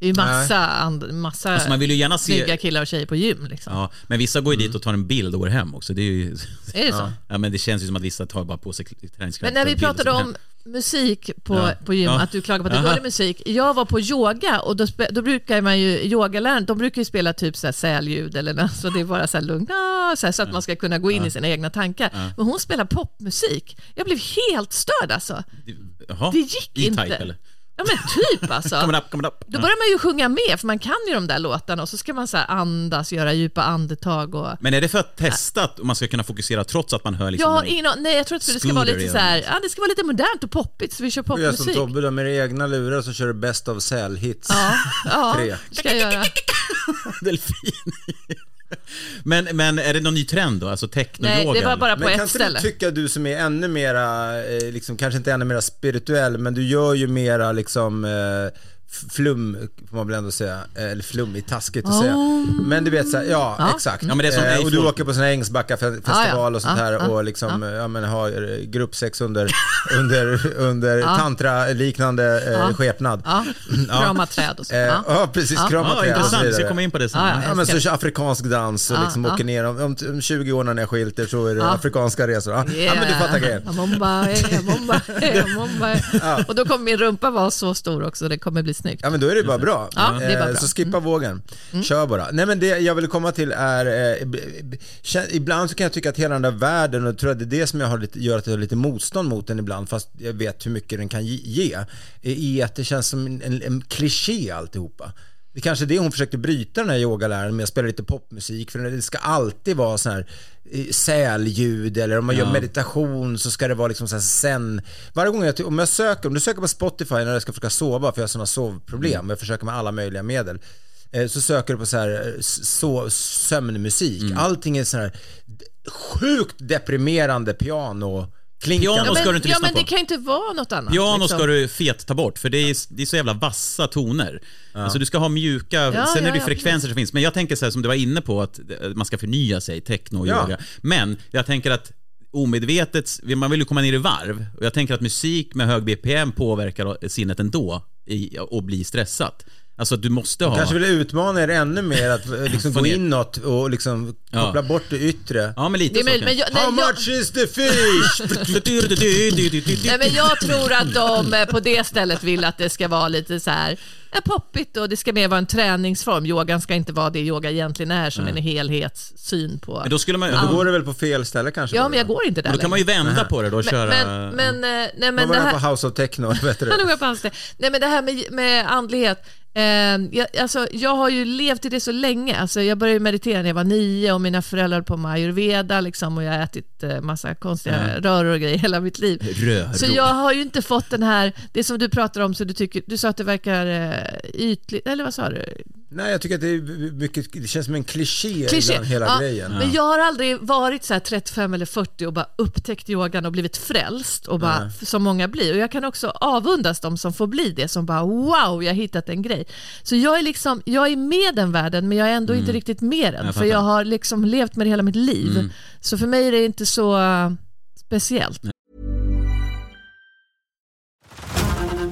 Det är ju massa, and, massa Alltså, man vill ju gärna snygga se, killar och tjejer på gym. Liksom. ja, men vissa går ju dit och tar en bild och går hem också. Det är ju, Är det så? ja men det känns ju som att vissa tar bara på sig träningskläder. Men när tar vi en bild och pratade så går om musik på, Ja. på gym, Ja. att du klagade på att det Aha. var dålig musik. Jag var på yoga och då, spe- då brukar man ju, yogaläraren, de brukar ju spela typ så här sälljud eller något, så det är bara så här lugnt, ah, så, här, så att man ska kunna gå in i sina egna tankar. Men hon spelar popmusik. Jag blev helt störd alltså. hem. Jaha, Det gick E-Type, inte. eller? Ja men typ alltså. Coming up, coming up. Då börjar man ju sjunga med, för man kan ju de där låtarna och så ska man så här andas, göra djupa andetag och... Men är det för att testa att man ska kunna fokusera trots att man hör Jag liksom... har ingen an- Nej, jag tror att det ska vara Scooter lite är så här, ja, det ska vara lite modernt och poppigt, så vi kör Du gör som popmusik. Tobbe då, med era egna lurar så kör du best of sell-hits. Ja, ja Tre. ska jag göra. delfin. men, men är det någon ny trend då? Alltså technoyoga? Nej, det var eller? bara på Men kan ett inte du ställe. tycka du som är ännu mera, eh, liksom, kanske inte ännu mera spirituell, men du gör ju mera liksom eh, f- flum, får man väl ändå säga. Eh, Eller flummigt, taskigt att säga. Om. Men du vet så här, ja, Ah. Ja. Ah, exakt. men det är som eh, Leif och du Holm. åker på sån här Ängsbackafestival Ja, ah. ja. och sånt Ja, här ja, och liksom, ja. men har eh, gruppsex under, under, under Ah. tantra-liknande eh, Ja. skepnad. Ja, Ja. krama träd och så. Eh, Ja. ja, precis. Ja. Krama Ja, träd och så Ah, intressant. Vi ska vidare. komma in på det sen. Ja, ja. Ja men så älskar kör afrikansk dans och Ja, liksom ja. åker ner. Om, om- om 20 år när ni är skilter så är det Ja. afrikanska resor. Ja, ja men du fattar grejen. Ja, Mumbai, ja, Mumbai, ja, Mumbai. Och då kommer min rumpa vara så stor också, det kommer bli snyggt. Ja men då är det bara bra. Ja, det är bara Eh, bra. Mm. Så skippa vågen. Kör bara. Nej men det jag vill komma till är, eh, b- b- kän- ibland så kan jag tycka att hela den där världen, och jag tror att det är det som jag har lite, gör att jag har lite motstånd mot den ibland, fast jag vet hur mycket den kan ge- ge, är att det känns som en, en, en kliché alltihopa. Det kanske är det hon försökte bryta den här yogaläraren med att spela lite popmusik, för det ska alltid vara sån här eh, säljud eller om man gör meditation så ska det vara liksom så här sen. Varje gång jag, ty- om jag söker, om du söker på Spotify när jag ska försöka sova, för jag har sådana sovproblem, Mm. jag försöker med alla möjliga medel. eh, Så söker du på så här eh, so- sömnmusik. Mm. Allting är så här d- sjukt deprimerande piano klinkande. Piano men, ska du inte ja, lyssna men på. det kan ju inte vara något annat. Piano liksom. ska du fet ta bort, för det är, det är så jävla vassa toner. Alltså du ska ha mjuka, Ja, sen är ja, det ja, frekvenser som finns. Men jag tänker så här som du var inne på, att eh, man ska förnya sig, techno och Ja. yoga. Men jag tänker att omedvetet, man vill ju komma ner i varv. Och jag tänker att musik med hög BPM påverkar sinnet ändå i, och blir stressat. Alltså att du måste ha... Kanske vill jag utmana er ännu mer att eh, liksom Få gå ner. inåt och liksom Ja. koppla bort det yttre. Ja, men lite Det är så möjligt, kanske. men jag, nej, How jag, much is the fish? Nej, men jag tror att de eh, på det stället vill att det ska vara lite så här eh, poppigt och det ska mer vara en träningsform. Yogan ska inte vara det yoga egentligen är som en helhetssyn på. Men då skulle man, Då då, går det väl på fel ställe kanske? ja, då? men jag går inte där då kan man ju vända på det då och längre. köra... Men, men, men, eh, nej, Man men var det där här, på House of Techno, bättre. Ja, nog på hans det. Nej, men det här med, med andlighet. Eh, jag, alltså, jag har ju levt i det så länge. Alltså, jag började meditera när jag var nio och mina föräldrar höll på med ayurveda liksom, och jag har ätit eh, massa konstiga röror och grejer hela mitt liv. Röror. Så jag har ju inte fått den här, det som du pratar om, så du, tycker, du sa att det verkar eh, ytligt, eller vad sa du? Nej, jag tycker att det, är mycket, det känns som en kliché, Kliché. ibland, hela Ja, grejen. Men jag har aldrig varit så här 35 eller 40 och bara upptäckt yogan och blivit frälst, och bara, som många blir. Och jag kan också avundas de som får bli det, som bara wow, jag har hittat en grej. Så jag är, liksom, jag är med den världen, men jag är ändå Mm. inte riktigt med den, Jag för fattar. jag har liksom levt med det hela mitt liv. Så för mig är det inte så eh, speciellt.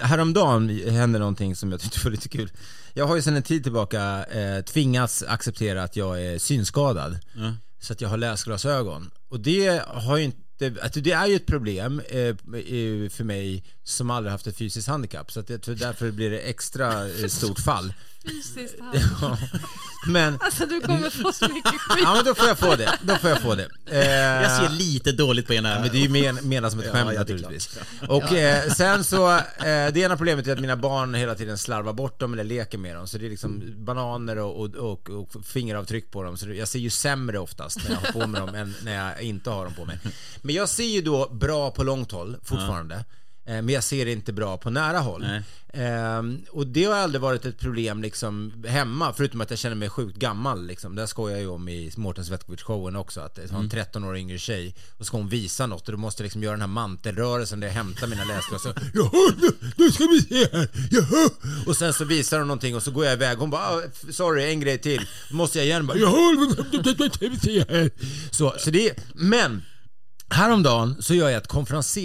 Häromdagen hände någonting som jag tyckte var lite kul. Jag har ju sedan en tid tillbaka eh, tvingats acceptera att jag är synskadad. Så att jag har läsglasögon. Och det har ju inte, att det är ju ett problem eh, eh, för mig som aldrig haft ett fysiskt handikapp. Så att jag tror därför blir det extra eh, stort fall. Fysiskt här. Men, Alltså du kommer få så mycket skit. ja men då får jag få det. Då får jag få det. Eh, Jag ser lite dåligt på ena Men det är ju men, menat som ett skämt ja, det är naturligtvis. Och eh, sen så, eh, det ena problemet är att mina barn hela tiden slarvar bort dem eller leker med dem. Så det är liksom Mm. bananer och, och, och, och fingeravtryck på dem. Så det- jag ser ju sämre oftast när jag har på mig dem än när jag inte har dem på mig. Men jag ser ju då bra på långt håll fortfarande. Eh, Men jag ser det inte bra på nära håll. Ehm, och det har aldrig varit ett problem liksom hemma, förutom att jag känner mig sjukt gammal liksom. Det här skojar jag ju om i Mårten Svetkovic-showen också, att det var en 13 år yngre tjej och ska hon visa något och då måste jag liksom göra den här mantelrörelsen där jag hämtar mina läsglasögon. Jaha, nu, nu ska vi se här, jaha! Och sen så visar hon någonting och så går jag iväg, hon bara ah, f- sorry, en grej till. Då måste jag igen bara jaha, nu ska vi se här. Så, så det, men Häromdagen så gör jag ett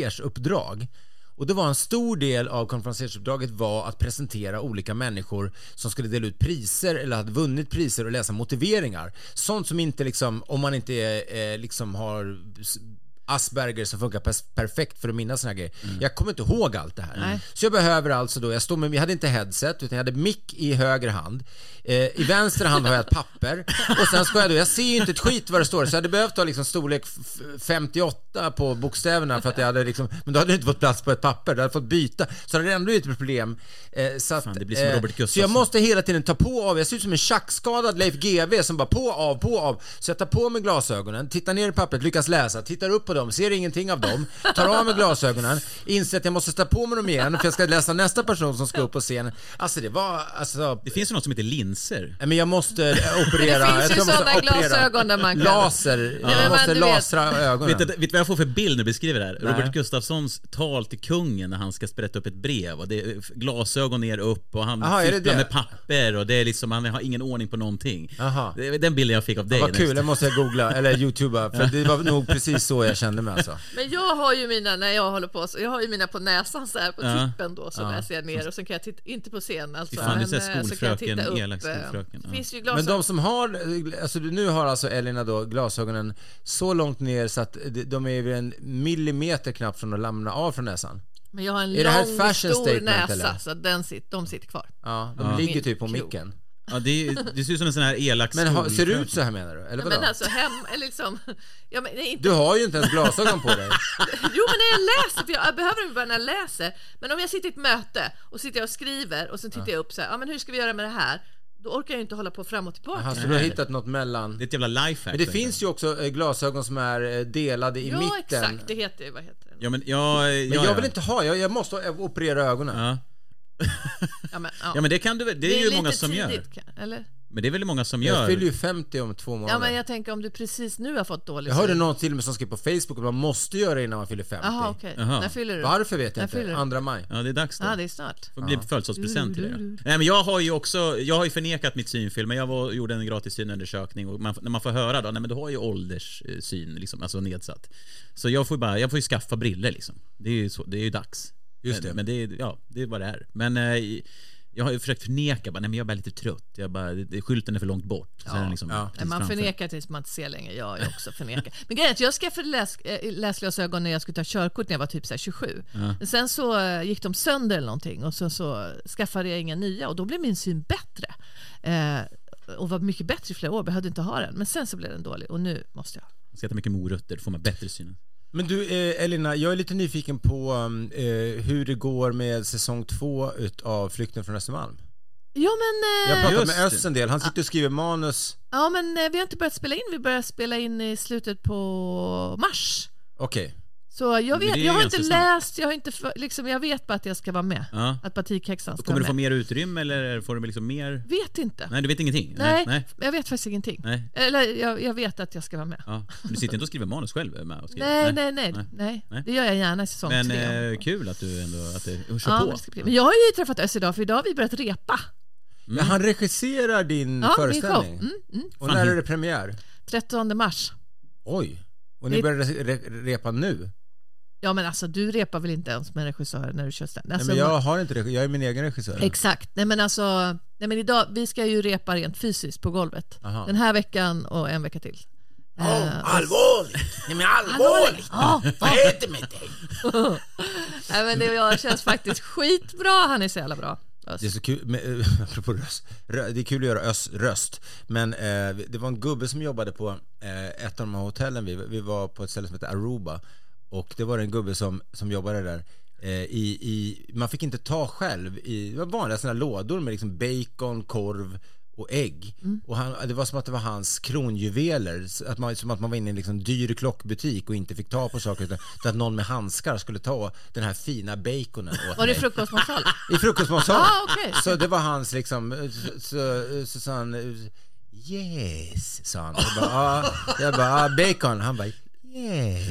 konferensersuppdrag. Och det var en stor del av konferensersuppdraget var att presentera olika människor som skulle dela ut priser eller hade vunnit priser och läsa motiveringar. Sånt som inte liksom, om man inte är, eh, liksom har s- Asperger som funkar pers- perfekt för att minnas såna här grejer. Jag kommer inte ihåg allt det här. Så jag behöver alltså då, jag står med, jag hade inte headset utan jag hade mick i höger hand. Eh, I vänster hand har jag ett papper och sen ska jag då, jag ser ju inte ett skit vad det står så jag hade behövt ha liksom storlek f- 58 på bokstäverna för att jag hade liksom, men då hade det inte fått plats på ett papper, då hade jag fått byta. Så det hade ändå blivit ett problem. Eh, så att, det blir som Robert så jag Gustafsson. måste hela tiden ta på och av, jag ser ut som en tjackskadad Leif GW som bara på, av, på, av. Så jag tar på mig glasögonen, tittar ner i pappret, lyckas läsa, tittar upp på dem, ser ingenting av dem, tar av mig glasögonen, inser att jag måste ta på mig dem igen för jag ska läsa nästa person som ska upp på scenen. Alltså det var, alltså... Det finns ju något som heter linser. Nej, Men jag måste eh, operera. Det finns jag ju tror jag måste sådana operera. glasögon där man kan- Laser. men Jag man- måste du vet. lasra ögonen. Vet du, vet du vad jag får för bild när du beskriver det här? Robert Gustafssons tal till kungen när han ska sprätta upp ett brev och det är glasögon ner upp och han Aha, är det fipplar det? med papper och det är liksom, han har ingen ordning på någonting. Aha. Det är Den bilden jag fick av dig. Vad kul, nästan. det måste jag googla, eller youtuba, för det var nog precis så jag kände mig alltså. Men jag har ju mina, när jag håller på, så jag har ju mina på näsan så här på Ja. tippen då som jag ser ner och sen kan jag titta, inte på scen alltså. Fy fan, du ser eh, så kan jag titta skolfröken, upp, elak eh, skolfröken, Det ja. finns ju Men glasögon. de som har, alltså nu har alltså Elina då glasögonen så långt ner så att de- de är ju en millimeter knappt från att lämna av från näsan. Men jag har en Är det här lång, fashion stor statement, näsa eller? så att den sit, de sitter kvar. Ja, de ligger typ på micken. Ja, det, är- det ser ut som en sån här elak Men ha, ser det skolfröken. ut så här menar du? Eller vadå? Men alltså hem, eller liksom, ja, men, nej, inte, Du har ju inte ens glasögon på dig. jo men när jag läser, för jag, jag behöver dem bara när jag läser. Men om jag sitter i ett möte och sitter jag och skriver och sen tittar jag upp så här, ja men hur ska vi göra med det här? Då orkar jag ju inte hålla på fram och tillbaka. Aha, så du har hittat något mellan. Det är ett jävla Men lifehack. det finns ju också eh, glasögon som är eh, delade i ja mitten. exakt, det heter ju, vad heter det? Ja, men, ja, Men jag vill inte ha, jag, jag måste eh, operera ögonen. Ja. Ja, men, ja, men det kan du väl- Det är, ju lite många som gör. tidigt, kan- Eller? Men det är väl många som Jag gör. fyller ju 50 om två månader. Ja, men jag... jag tänker om du precis nu har fått dålig hörde någon till och med som skrev på Facebook att man måste göra det innan man fyller 50. Jaha, okej. Jaha. När fyller du? Varför vet jag När fyller inte. du? Andra maj. Ja, det är dags då. Ja, det är snart. får bli födelsedagspresent till det då. Nej men jag har ju också, jag har ju förnekat mitt synfel men jag var, gjorde en gratis synundersökning och man, när man får höra då, nej men du har ju ålderssyn liksom, alltså nedsatt. Så jag får ju bara, jag får ju skaffa briller liksom. Det är ju så, det är ju dags. Just men, det. Men det är, ja, det är vad det är. Men eh, jag har ju försökt förneka bara, nej men jag är bara lite trött. Jag bara, det, det, skylten är för långt bort. Så är den liksom ja. precis Nej, man framför. förnekar tills man inte ser längre. Jag är också förnekar. Men grejen är att jag skaffade läs, eh, läsglasögon när jag skulle ta körkort när jag var typ så här 27. Men Sen så eh, gick de sönder eller någonting och så, så skaffade jag inga nya och då blev min syn bättre. Eh, och var mycket bättre i flera år, behövde inte ha den. Men sen så blev den dålig och nu måste jag. Man ska äta mycket morötter, då får man bättre syn. Men du eh, Elina, jag är lite nyfiken på um, eh, hur det går med säsong två utav Flykten från Östermalm. Ja men, Jag eh, har pratat Just med Özz det. en del, han sitter och skriver manus. ja, men eh, vi har inte börjat spela in, vi börjar spela in i slutet på mars. Okej. Så jag, det vet, är jag har ju inte ganska snabbt. läst, jag har inte för, liksom, jag vet bara att jag ska vara med. Ja. Att Batikhäxan ska Kommer du vara få mer med. utrymme eller får du liksom mer? Vet inte. Nej, Nej, du vet ingenting? nej. jag vet faktiskt ingenting. Nej. Eller jag, jag vet att jag ska vara med. Ja. Du sitter inte och skriver manus själv? eh, Med och skriver. Nej, nej, nej, nej, nej. Det gör jag gärna i säsong Men tre. eh, kul att du ändå att du kör ja, men, på. det ska bli. men jag har ju träffat Özz idag, för idag har vi börjat repa. Men han regisserar din Ja, min show. föreställning? Mm, mm. Och när är det premiär? 13 mars. Oj. Och ni Det- börjar re- re- repa nu? Ja, men alltså du repar väl inte ens med regissörer när du kör stand Nej, alltså, men jag har inte regi- jag är min egen regissör. Exakt. Nej, men alltså, nej, men idag, vi ska ju repa rent fysiskt på golvet. Aha. Den här veckan och en vecka till. Eh, Allvarligt! Nej men allvarligt! Ja, Vad heter med dig? nej, men det jag känns faktiskt skitbra. Han är så jävla bra. Det är så kul, med, eh, apropå röst, Rö- det är kul att göra ös, röst, men eh, det var en gubbe som jobbade på eh, ett av de här hotellen, vi, vi var på ett ställe som heter Aruba och det var en gubbe som, som jobbade där eh, i, i, man fick inte ta själv, i, det var vanliga såna här lådor med liksom bacon, korv och ägg. Mm. Och han, det var som att det var hans kronjuveler, så att man, som att man var inne i en liksom dyr klockbutik och inte fick ta på saker utan utan att någon med handskar skulle ta den här fina baconen åt Var det mig. frukostmatsal? I frukostmatsalen. Ah, okej. Så det var hans liksom, så, så, så sa han eh, Yes, sa han. Jag bara, ah. jag bara ah, bacon. Han bara Yes.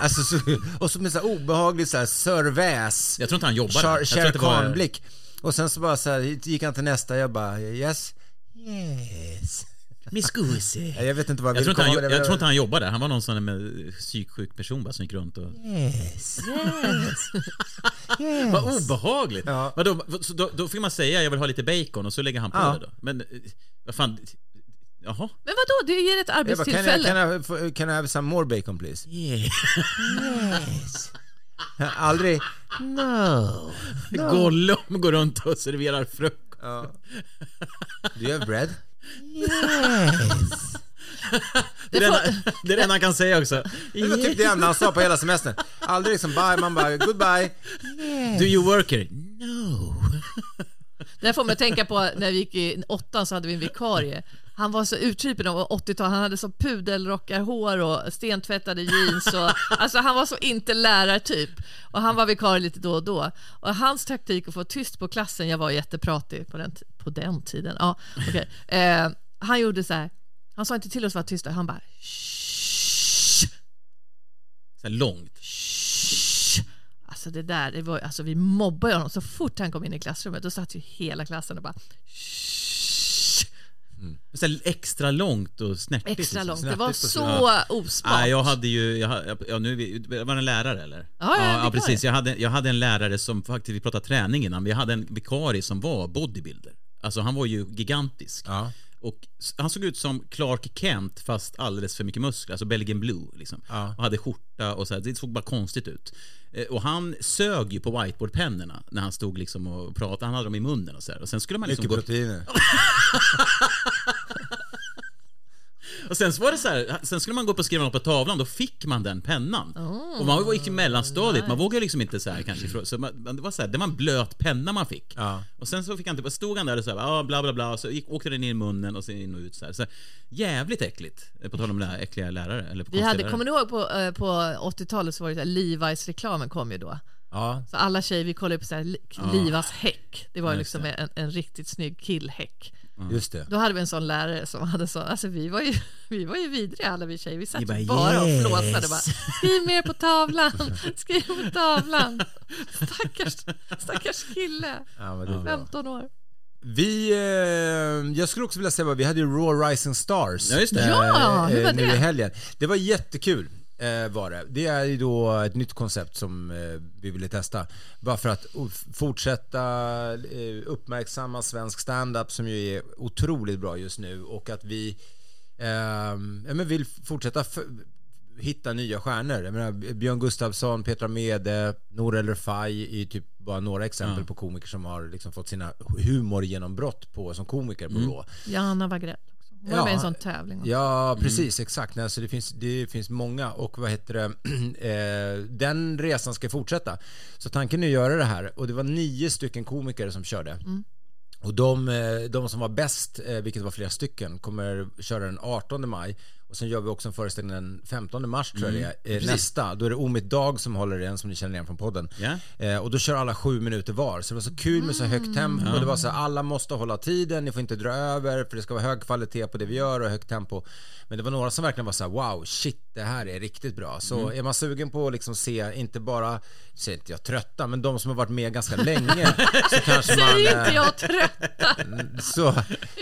Alltså, så, och så med så här obehaglig så här serväs, Jag tror inte han jobbade. Char- Jag tror Shere att det var- Khan-blick. Och sen så bara så här, gick han till nästa, jag bara yes, yes. Miss Nej, Jag vet inte vad Jag tror, inte han, med jag det. tror inte han jobbade där. Han var någon sån med psyksjuk person bara som gick runt och... Yes, yes. Vad obehagligt! Ja. Vadå, så då, då fick man säga jag vill ha lite bacon och så lägger han på Ja. det då. Men eh, vad fan... Jaha? Men vadå, det ger ett Jag bara, can, I, arbetstillfälle. can, I, få- can I have some more bacon please? Yes. Aldrig No. Gollum går runt och serverar frukost. Ja. Do you have bread? Yes. Det är det enda- det är det enda han kan säga också. Det var typ det enda han sa på hela semestern. Aldrig liksom bye, man bara goodbye. Do you work here? No. Det här får mig att tänka på när vi gick i åttan så hade vi en vikarie. Han var så uttypen av 80-tal, han hade så pudelrockarhår och stentvättade jeans och alltså han var så inte lärartyp. Och han var vikarie lite då och då. Och hans taktik att få tyst på klassen, jag var jättepratig på den, t- på den tiden, ja okej. Eh, han gjorde så här, han sa inte till oss att vara tysta, han bara "Shh." Så här långt. Shh. Alltså det där, det var, alltså vi mobbade honom så fort han kom in i klassrummet. Då satt ju hela klassen och bara Shh. Så här extra långt och snärtigt. extra liksom. långt. Det var snärtigt och så. så ospart. Nej, jag hade ju, jag, ha- ja, nu, är vi- var det en lärare eller? ja, ja, vikarie. precis. Jag hade, jag hade en lärare som faktiskt, vi pratade träning innan, vi hade en vikarie som var bodybuilder. Alltså han var ju gigantisk. Ja. Och s- han såg ut som Clark Kent fast alldeles för mycket muskler, alltså Belgian Blue liksom. Ja. Och hade skjorta och så här, det såg bara konstigt ut. Eh, Och han sög ju på whiteboardpennorna när han stod liksom och pratade, han hade dem i munnen och så här. Och sen skulle man liksom Mycket gå proteiner. Och sen så var det så här, sen skulle man gå upp och skriva något på tavlan, då fick man den pennan. och man var- gick i mellanstadiet, man Oh, vågade liksom inte så här kanske ifrån- så man, man- Det var så här, det var en blöt penna man fick. Ja. Och sen så fick han typ, stod han där och så här, ah, bla bla bla, och så gick, åkte den in i munnen och sen in och ut så här. Så här, jävligt äckligt. eh, På tal om det här äckliga lärare, eller Vi konstiga hade, lärare. kommer ni ihåg på, eh, på 80-talet så var det så här, Levi's-reklamen kom ju då. Ja. Så alla tjejer, vi kollade på så här, li- Livas häck. Det var ju liksom en, en riktigt snygg killhäck. Just det. Då hade vi en sån lärare som hade sån, alltså vi var ju, vi var ju vidriga alla vi tjejer. Vi satt Ni ju bara, bara, bara "Yes." och flåsade bara. Skriv mer på tavlan, skriv på tavlan. Stackars, stackars kille, Ja, men det är bra. 15 år. Vi, eh, jag skulle också vilja säga vad vi hade ju Raw Rising Stars. Ja, just det. Ja, eh, Ah, hur var nu i det? helgen. Det var jättekul. Eh, var det. det är ju då ett nytt koncept som eh, vi ville testa. Bara för att o- fortsätta eh, uppmärksamma svensk standup som ju är otroligt bra just nu och att vi eh, ja, men vill fortsätta f- hitta nya stjärnor. Jag menar, Björn Gustafsson, Petra Mede, Nour El-Refai är typ bara några exempel på komiker som har liksom fått sina humorgenombrott på, som komiker på Raw. Jana Wagrell också. Hon var Ja. med i en sån tävling. Ja, precis, exakt. Nej, så det, finns, det finns många och vad heter det, eh, den resan ska fortsätta. Så tanken är att göra det här och det var nio stycken komiker som körde. Och de, eh, de som var bäst, eh, vilket var flera stycken, kommer köra den 18 maj. Och sen gör vi också en föreställning den 15 mars tror jag det är, eh, nästa. Då är det Omid Dag som håller i den som ni känner igen från podden. Ja. Eh, och då kör alla sju minuter var. Så det var så kul med så högt tempo. Mm. Det var så här, alla måste hålla tiden, ni får inte dra över för det ska vara hög kvalitet på det vi gör och högt tempo. Men det var några som verkligen var så här, wow, shit, det här är riktigt bra. Så Mm. är man sugen på att liksom se, inte bara, säger inte jag trötta, men de som har varit med ganska länge så kanske man... Säg inte eh, jag trötta. så,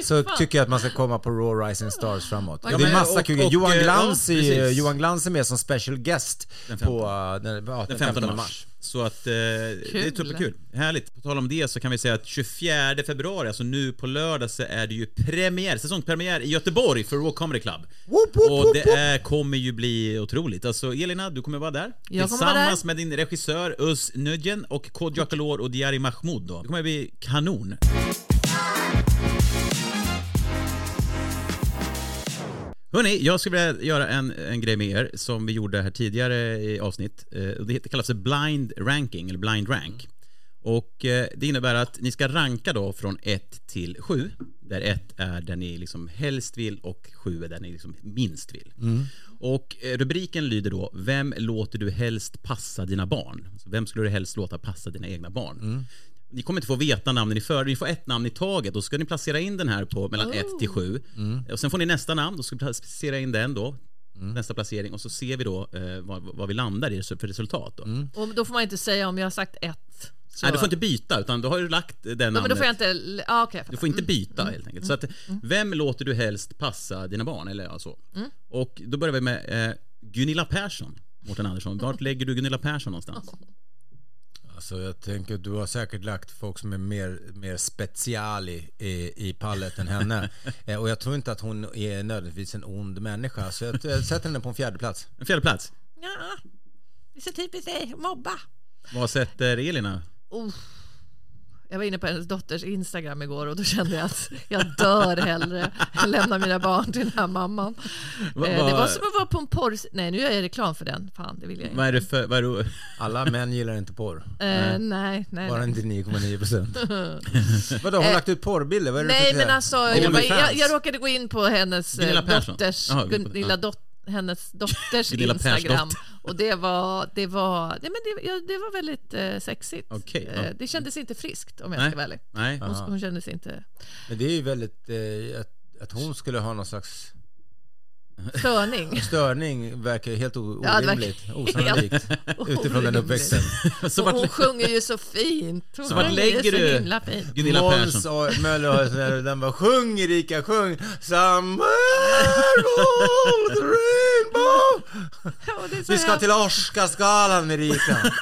så fan. tycker jag att man ska komma på Raw Rising Stars framåt. Ja, det är men- massa och- kul grejer. och, Johan, eh, Glans ja, i- precis. Johan Glans är med som special guest på eh, den, ja, Den 15 mars. Så att eh, det är superkul. Härligt. På tal om det så kan vi säga att 24 februari, alltså nu på lördag, så är det ju premiär, säsongspremiär i Göteborg för Raw Comedy Club. Woop, woop, och woop, det woop. är, kommer ju bli otroligt. Alltså Elina, du kommer vara där. Jag kommer vara tillsammans där. med din regissör Özz Nujen och Kodjo Akolor och Diari Mahmoud då. Det kommer bli kanon. Hörni, jag skulle vilja göra en, en grej med er som vi gjorde här tidigare i avsnitt. Eh, och Det heter- kallas för blind ranking, eller blind rank. Och eh, det innebär att ni ska ranka då från 1 till 7. Där 1 är där ni liksom helst vill och 7 är där ni liksom minst vill. Och eh, rubriken lyder då Vem låter du helst passa dina barn? Så vem skulle du helst låta passa dina egna barn? Ni kommer inte få veta namnen i förväg. Ni får ett namn i taget. Då ska ni placera in den här på mellan 1 till 7. Och sen får ni nästa namn. Då ska ni placera in den då. Nästa placering. Och så ser vi då eh, vad, vad vi landar i för resultat. Då. Och då får man inte säga om jag har sagt ett. Så. Nej, du får inte byta, utan då har du lagt eh, den Ja, men då namnet. får jag inte... Ja, okej. Du jag fattar. får inte byta helt enkelt. Så att, vem låter du helst passa dina barn? Eller ja, så. Och då börjar vi med eh, Gunilla Persson. Mårten Andersson, vart lägger du Gunilla Persson någonstans? Alltså jag tänker att du har säkert lagt folk som är mer, mer speciali i, i pallet än henne. Eh, och jag tror inte att hon är nödvändigtvis en ond människa. Så jag, jag sätter henne på en fjärde plats. En fjärde plats. Ja, det är så typiskt dig. Mobba. Vad sätter Elina? Oh. Jag var inne på hennes dotters Instagram igår och då kände jag att jag dör hellre än lämna mina barn till den här mamman. Va- Eh, va- Det var som att vara på en porr... Nej, nu gör jag reklam för den. Fan, det vill jag inte. Vad är det för... Vad är det? Alla män gillar inte porr. Eh, nej, nej. Bara nej. inte 9,9 procent. Vadå, har hon lagt ut porrbilder? Vad är det för Eh, Nej, knä? men alltså, jag, bara, jag, Onlyfans. jag råkade gå in på hennes eh, Gunilla Persson. dotters, Jaha, Gunilla- Gunilla ja. dot, hennes dotters Gunilla Instagram. Persdotter. Och det var, det var, nej, men det, ja, det var väldigt eh, sexigt. Okej, ja. Eh, det kändes inte friskt om jag Nej. ska vara ärlig. Nej. Hon, hon kändes inte Men det är ju väldigt... Eh, att, att hon skulle ha någon slags störning. störning verkar ju helt o- Ja, det verkar orimligt. helt Osannolikt. Utifrån den orimligt. uppväxten. Så Och vart, hon sjunger ju så fint. Hon Så vart sjunger ju lägger så du- himla fint. Gunilla Måns Persson. och Möller har en sån här- den var sjung Erika sjung Somewhere over the rainbow Ja, det är så Vi ska hemskt. till Oscarsgalan Erika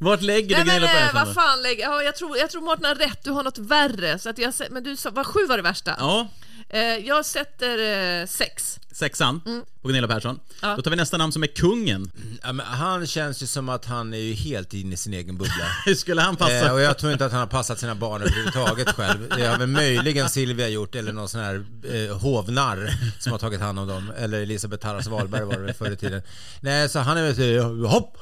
Vart lägger du Nej men Gunilla eh, Persson? då? vad fan, lägg, ja, jag, tror, jag tror Mårten har rätt, du har något värre. Så att jag, sä- men du sa, vad sju var det värsta? Ja, Eh, jag sätter eh, sex. sexan på Gunilla Persson. Mm. Ja. Då tar vi nästa namn som är kungen. ja, men Han känns ju som att han är ju helt inne i sin egen bubbla Hur skulle han passa? Eh, och jag tror inte att han har passat sina barn överhuvudtaget själv. Det har väl möjligen Silvia gjort eller någon sån här eh, hovnarr som har tagit hand om dem. Eller Elisabeth Tarras Wahlberg var det väl förr i tiden. Nej, så han är väl så- hopp!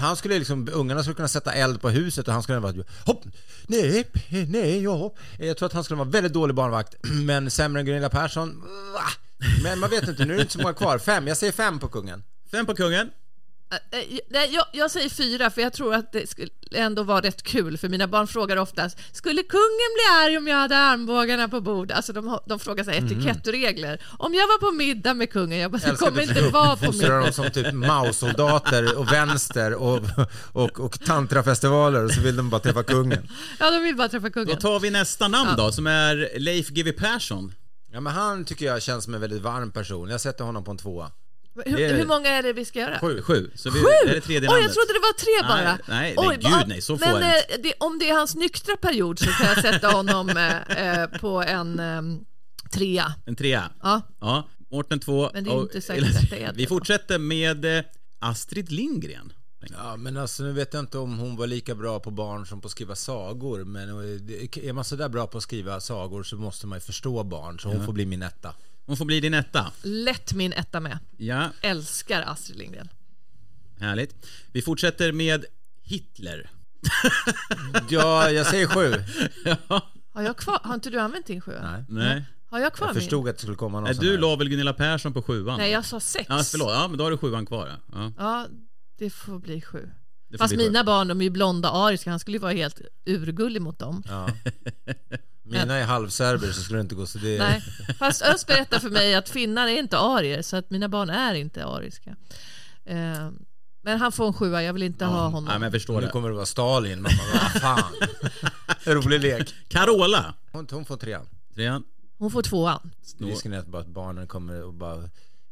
Han skulle liksom, ungarna skulle kunna sätta eld på huset och han skulle vara hopp! Nej, nej, ja. hopp. Jag tror att han skulle vara väldigt dålig barnvakt, men sämre än Gunilla Persson. Va? Men man vet inte, nu är det inte så många kvar. Fem, jag säger fem på kungen. Fem på kungen. Eh, eh, nej, jag, jag säger fyra för jag tror att det skulle ändå vara rätt kul för mina barn frågar oftast Skulle kungen bli arg om jag hade armbågarna på bord? Alltså de, har- de frågar så Mhm. här, etikettregler. Om jag var på middag med kungen, jag bara, det Älskar kommer att du inte tog upp vara på middag. Fostrar dem som typ Mao-soldater och vänster och, och, och tantrafestivaler och så vill de bara träffa kungen. Ja, de vill bara träffa Då kungen. tar vi nästa namn då, som är Leif GW Persson. Ja men han tycker jag känns som en väldigt varm person. Jag sätter honom på en tvåa. det Hur, är- hur många är det vi ska göra? Sju. Sju. Så vi, Sju? Det är det tredje Oj, namnet. jag trodde det var tre bara. Nej, nej, Oj, nej, gud, va- nej, så får men, jag eh, det, om det är hans nyktra period så kan jag sätta honom eh, eh, på en eh, trea. En trea. Ja. Ja, Mårten två. Men det är Och- inte säkert att det är det Vi då. fortsätter med eh, Astrid Lindgren. Ja men alltså nu vet jag inte om hon var lika bra på barn som på att skriva sagor. Men eh, det- är man sådär bra på att skriva sagor så måste man ju förstå barn. Så hon får bli min etta. Hon får bli din etta. Lätt min etta med. Ja, Älskar Astrid Lindgren. härligt. Vi fortsätter med Hitler. Ja, jag säger sju. Har, jag kvar, har inte du använt din sjua? Nej. Har jag kvar Jag min? förstod att det skulle komma någon Nej, sån du här. la väl Gunilla Persson på sjuan? Nej, jag sa sex. Ja, förlåt. Ja, men då har du sjuan kvar. ja. Ja. Ja, det får bli sju. Det får Fast bli skönt. mina barn, de är ju blonda ariska. Han skulle ju vara helt urgullig mot dem. Ja. Mina är halvserber så skulle det inte gå så det... Nej. Fast Öst berättar för mig att finnar är inte arier, så att mina barn är inte ariska. Eh, men han får en sjua, jag vill inte ha honom. Nej, men jag förstår Nu det. kommer det vara Stalin. Man bara, vad fan. Rolig lek. Carola. Hon, hon får trean. Trean. Hon får tvåan. Snå. Risken är att bara att barnen kommer och bara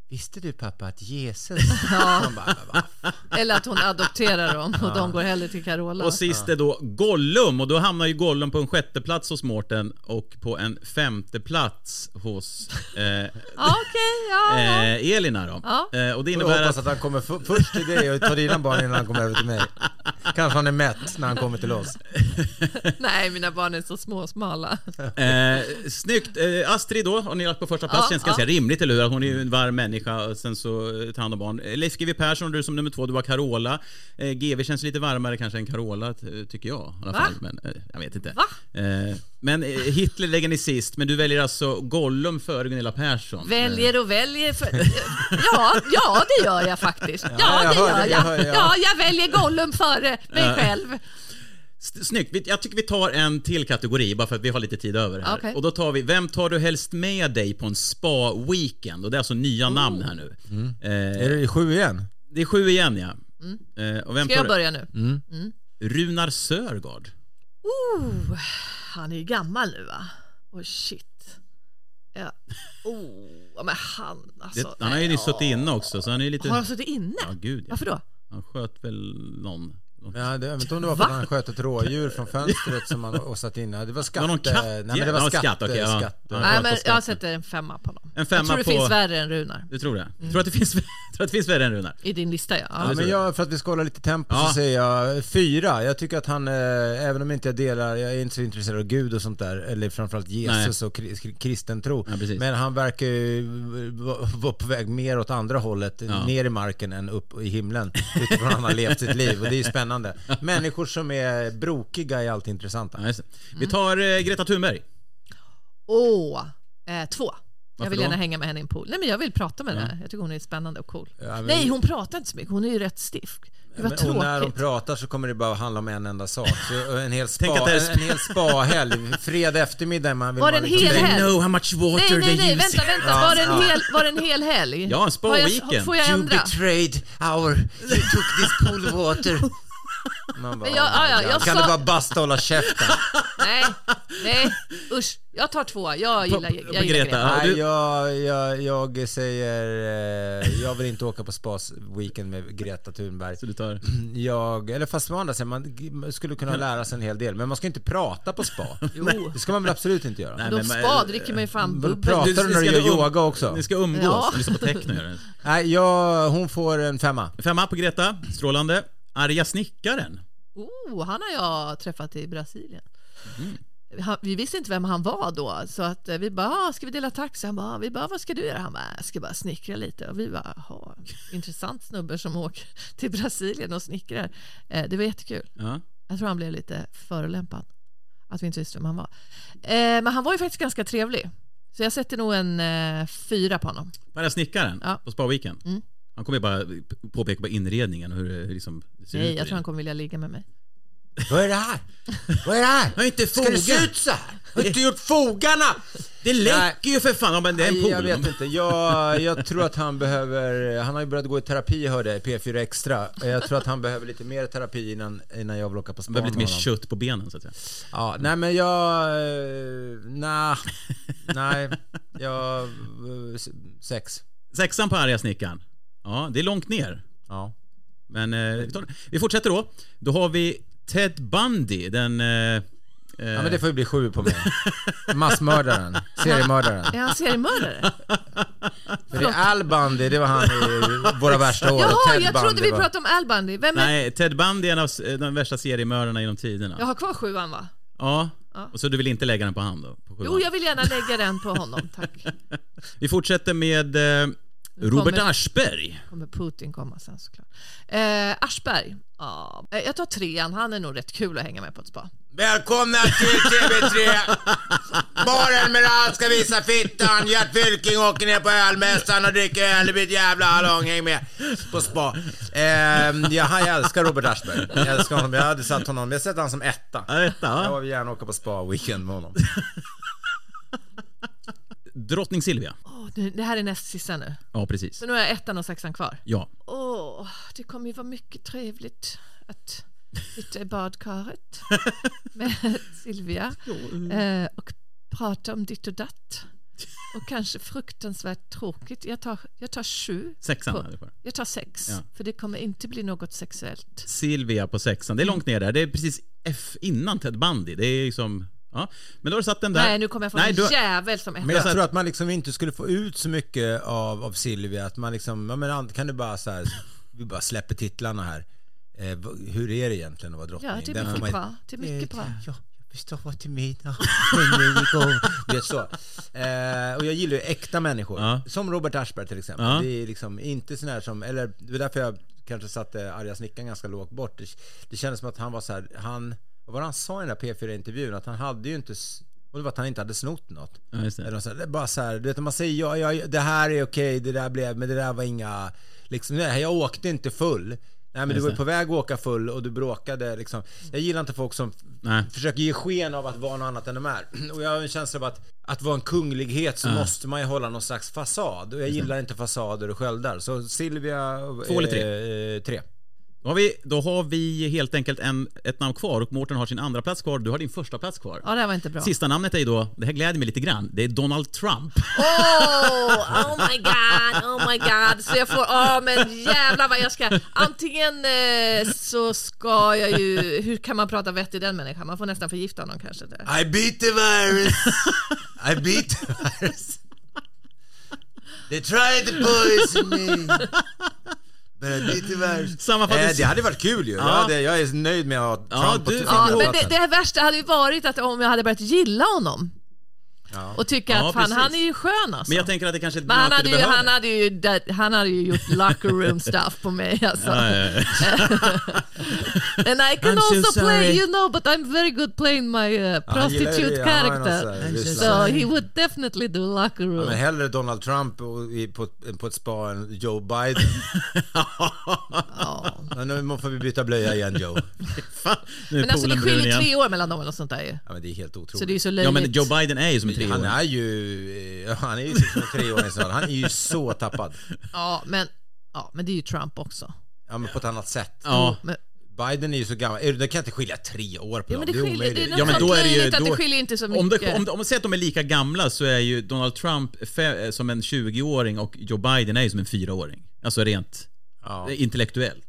Visste du pappa att Jesus... Man bara, "Men vad fan." Eller att hon adopterar dem och de går hellre till Carola. Och sist är då Gollum och då hamnar ju Gollum på en sjätte plats hos Mårten och på en femte plats hos eh, Ja, okej, ja. ja. eh, Elina då. Ja. Eh, och det Jag innebär hoppas att, att han kommer f- först till dig och tar dina barn innan han kommer över till mig. Kanske han är mätt när han kommer till oss. Eh. Nej, mina barn är så små och smala. eh, snyggt. Eh, Astrid då har ni lagt på första plats. Ja, Känns ja. ganska rimligt, eller hur? Hon är ju en varm människa och sen så eh, tar hand om barn. Eh, Leif GW Persson, du som nummer två, du var Carola. Eh, GW känns lite varmare kanske än Carola, t- eh, tycker jag. I alla Va? fall. Men, eh, jag vet inte. Va? Eh, men eh, Hitler lägger ni sist, men du väljer alltså Gollum före Gunilla Persson. Väljer och väljer. För... Ja, ja, det gör jag faktiskt. Ja, jag det hör gör det, jag hör det, jag. ja. Ja, jag väljer Gollum före mig själv. S- Snyggt. Vi- Jag tycker vi tar en till kategori bara för att vi har lite tid över här. Okej. Och då tar vi, vem tar du helst med dig på en spa-weekend? Och det är alltså nya Oh. namn här nu. Eh, Är det i sju igen? det är sju igen ja. Eh, och vem Mm. Ska tar jag du? börja nu? Runar Sörgård. Oh, han är ju gammal nu va? Oh shit. Ja. Oh, men han Det, alltså. han har ju nyss suttit inne också så han är ju lite... Har han suttit inne? Ja, gud ja. Varför då? Han sköt väl någon. någon- Ja, det, jag vet inte om det var för Va? att han sköt ett rådjur från fönstret som han och satt inne. Det var skatte... Var någon katt? Nej, men det Ja, var skatt, skatte... okej, ja. skatte. Ja. Nej, på men skatten. jag sätter en femma på honom. En femma jag tror det på- finns Mm. värre än Runar. Du tror det? Tror att det finns, tror att det finns värre än Runar? I din lista ja. Ja, ja. men jag, för att vi ska hålla lite tempo Ja. så säger jag fyra. Jag tycker att han, eh, även om inte jag delar, jag är inte så intresserad av Gud och sånt där, eller framförallt Jesus och kri- kri- kristen tro. Ja, precis. men han verkar ju va- vara på väg mer åt andra hållet, ner i marken än upp i himlen, utifrån hur han har levt sitt liv. Och det är ju spännande. Människor som är brokiga är alltid intressanta. Nej, så. Mm. Vi tar eh, Greta Thunberg. Åh, eh, två. Jag vill då? gärna hänga med henne i en pool. Nej men jag vill prata med henne. Jag tycker hon är spännande och cool. men- Nej hon pratar inte så mycket. Hon är ju rätt stiff. Det var Men, och när de tråkigt. pratar så kommer det bara handla om en enda sak. Så en hel Tänk att spa- det är en- en hel spahelg, fredag eftermiddag. är Man vill liksom Var man det en hel They helg? know how much water Nej, nej, they nej, use. vänta, vänta. Var det en hel, var det en hel helg? Ja, en spa Har jag- weekend. Får jag You ändra? betrayed our... You took this pool water. Man bara, Men jag- ja, ja, "Oh my jag God." kan sa- du bara basta och hålla käften? Nej, nej. Usch, jag tar två. Jag gillar, jag på gillar Greta. Greta. Ja, Nej, Ah, du- jag, jag, jag säger... Eh, jag vill inte åka på spas weekend med Greta Thunberg. Så du tar... Mm. Jag, eller fast å andra sidan, man g- skulle kunna lära sig en hel del. Men man ska inte prata på spa. Jo. Det ska man väl absolut inte göra. Nej, De men- spa dricker man ju fan Vadå, bubbel. pratar du när du ska gör um- yoga också? Ni ska umgås, Ja. lyssna på techno. gör ni. Nej, jag, hon får en femma. Femma på Greta, strålande. Arga snickaren. Oh, han har jag träffat i Brasilien. Han, vi visste inte vem han var då, så att eh, vi bara, "Ah, ska vi dela taxi? Han bara, "Ah, vi bara, vad ska du göra? Han bara, jag ska bara snickra lite. Och vi bara, jaha, intressant snubbe som åker till Brasilien och snickrar. Eh, det var jättekul. Ja. Jag tror han blev lite förolämpad. Att vi inte visste vem han var. Eh, men han var ju faktiskt ganska trevlig. Så jag sätter nog en eh, fyra på honom. Bara snickaren Ja. på Spaviken. Mm. Han kommer ju bara påpeka på inredningen och hur det liksom ser ut. Nej, i jag tror den. han kommer vilja ligga med mig. Vad är det här? Vad är det här? har inte Ska det se fogat. ut så här? Har du inte gjort fogarna? Det läcker ju för fan! Ja, men det är en Nej, pool. jag vet inte. Jag, jag tror att han behöver... Han har ju börjat gå i terapi hörde jag, i P4 Extra. Jag tror att han behöver lite mer terapi innan, innan jag vill åka på spa Det blir lite mer med honom. kött på benen så att säga. Ja, nej men jag... eh, Nej. Nej. Jag... eh, s- Sex. Sexan på arga snickaren. Ja, det är långt ner. Ja. Men eh, vi, tar, det. vi fortsätter då. Då har vi Ted Bundy, den... Eh, eh, Ja men det får ju bli sju på mig. Massmördaren. Seriemördaren. Är han seriemördare? För det är Al Bundy, det var han i våra värsta år. och Jaha, Ted jag trodde Bundy vi var- pratade om Al Bundy. Vem är... Nej, Ted Bundy är en av s- eh, de värsta seriemördarna genom tiderna. Jag har kvar sjuan va? Ja. Och så du vill inte lägga den på hand då? På sjuan. Jo, jag vill gärna lägga den på honom, tack. Vi fortsätter med eh, Robert kommer- Aschberg. kommer Putin komma sen såklart. Eh, Aschberg. Ja. Eh, Jag tar trean, han är nog rätt kul att hänga med på ett spa. Välkomna till TV3! Baren med allt ska visa fittan. Gert Fylking åker ner på ölmässan och dricker öl. Det blir ett jävla hallong. Häng med på spa. Eh, ja, han- jag älskar Robert Aschberg. Jag älskar honom. Jag hade satt honom. Jag sätter honom som etta. Ja, detta, va? Jag vill gärna åka på spa-weekend med honom. Drottning Silvia. Åh, nu- det här är näst sista nu. Ja, precis. Så nu har jag ettan och sexan kvar. Ja. Åh, det kommer ju vara mycket trevligt att sitta i badkaret med Silvia eh, och prata om ditt och datt. Och kanske fruktansvärt tråkigt. Jag tar, jag tar sju. Sexan på- hade jag kvar. Jag tar sex, Ja. för det kommer inte bli något sexuellt. Silvia på sexan. Det är långt ner där. Det är precis F innan Ted Bundy. Det är liksom... Ja. Men då har du satt den där. Nej, nu kommer jag få Nej, en du- jävel som Men jag etta. tror att man liksom inte skulle få ut så mycket av, av Silvia. Att man liksom, ja men an- kan du bara så här, vi bara släpper titlarna här. Eh, v- hur är det egentligen att vara drottning? Ja, typ det Den är får mycket man- bra. Det är mycket Eh, bra. Ja, jag förstår vad du menar. Men nu är det igång. Du vet så. Eh, och jag gillar ju äkta människor. Ja. Som Robert Aschberg till exempel. Ja. Det är liksom inte sån här som, eller det är därför jag kanske satte arga snickaren ganska lågt bort. Det, det kändes som att han var så här, han, vad var det han sa i den där P4-intervjun? Att han hade ju inte, s- och det var att han inte hade snott något. Ja, just det. Eller så här, det är bara så här, du vet när man säger ja, ja, det här är okej, det där blev, men det där var inga, liksom, nej, jag åkte inte full. Nej men du var ju på väg att åka full och du bråkade liksom. Jag gillar inte folk som Nej. försöker ge sken av att vara något annat än de är. Och jag har en känsla av att, att vara en kunglighet så måste man ju hålla någon slags fasad. Och jag gillar inte fasader och sköldar. Så Silvia... Två eller tre? Eh, tre. Då har, vi, då har vi helt enkelt en, ett namn kvar och Mårten har sin andra plats kvar. Du har din första plats kvar. Ja, det här var inte bra. Sista namnet är ju då, det här gläder mig lite grann, det är Donald Trump. Oh, oh my god, oh my god. Så jag får, ja men jävlar vad jag ska, antingen eh, så ska jag ju, hur kan man prata vett i den människan? Man får nästan förgifta honom kanske. Där. I beat the virus. I beat the virus. They tried to poison me. But I beat the virus. Sammanfattnings- Eh, det hade varit kul ju. Jag, hade, jag är nöjd med att ha Trump Ja, på du- t- ja, på Ja, men det, platsen. det värsta hade ju varit att om jag hade börjat gilla honom och tycka Ja, att fan, precis. han är ju skön alltså. Men jag tänker att det kanske är ett Men han möte hade, du ju, behöver. han, hade ju, det- han hade ju gjort locker room stuff på mig alltså. And I can I'm so also play, sorry. you know, but I'm very good playing my uh, Han gillar ju det. prostitute Han har ju någon character. sån här Ryssland. So he would definitely do locker room. Men hellre Donald Trump och- i- på, på ett spa än Joe Biden. Ja. Men nu får vi byta blöja igen Joe. Fan, nu är Men alltså det poolen brun skiljer igen. tre år mellan dem eller något sånt där ju. Ja, men det är helt otroligt. Så det är ju så Ja löjligt. men Joe Biden är ju som tre han år. är ju, eh, han är ju 63 år snart. Han är ju så tappad. Ja, men, ja, men det är ju Trump också. Ja men på ett annat sätt. Ja. Men, Biden är ju så gammal. Är du- Det kan inte skilja tre år på ja, dem. men det, är skiljer, det är omöjligt. något Ja, men sånt då är det ju- löjligt att då- det skiljer inte så mycket. Om, det, om, om, om säg att de är lika gamla så är ju Donald Trump fe, eh, som en 20-åring och Joe Biden är ju som en 4-åring. Alltså rent Ja. eh, intellektuellt.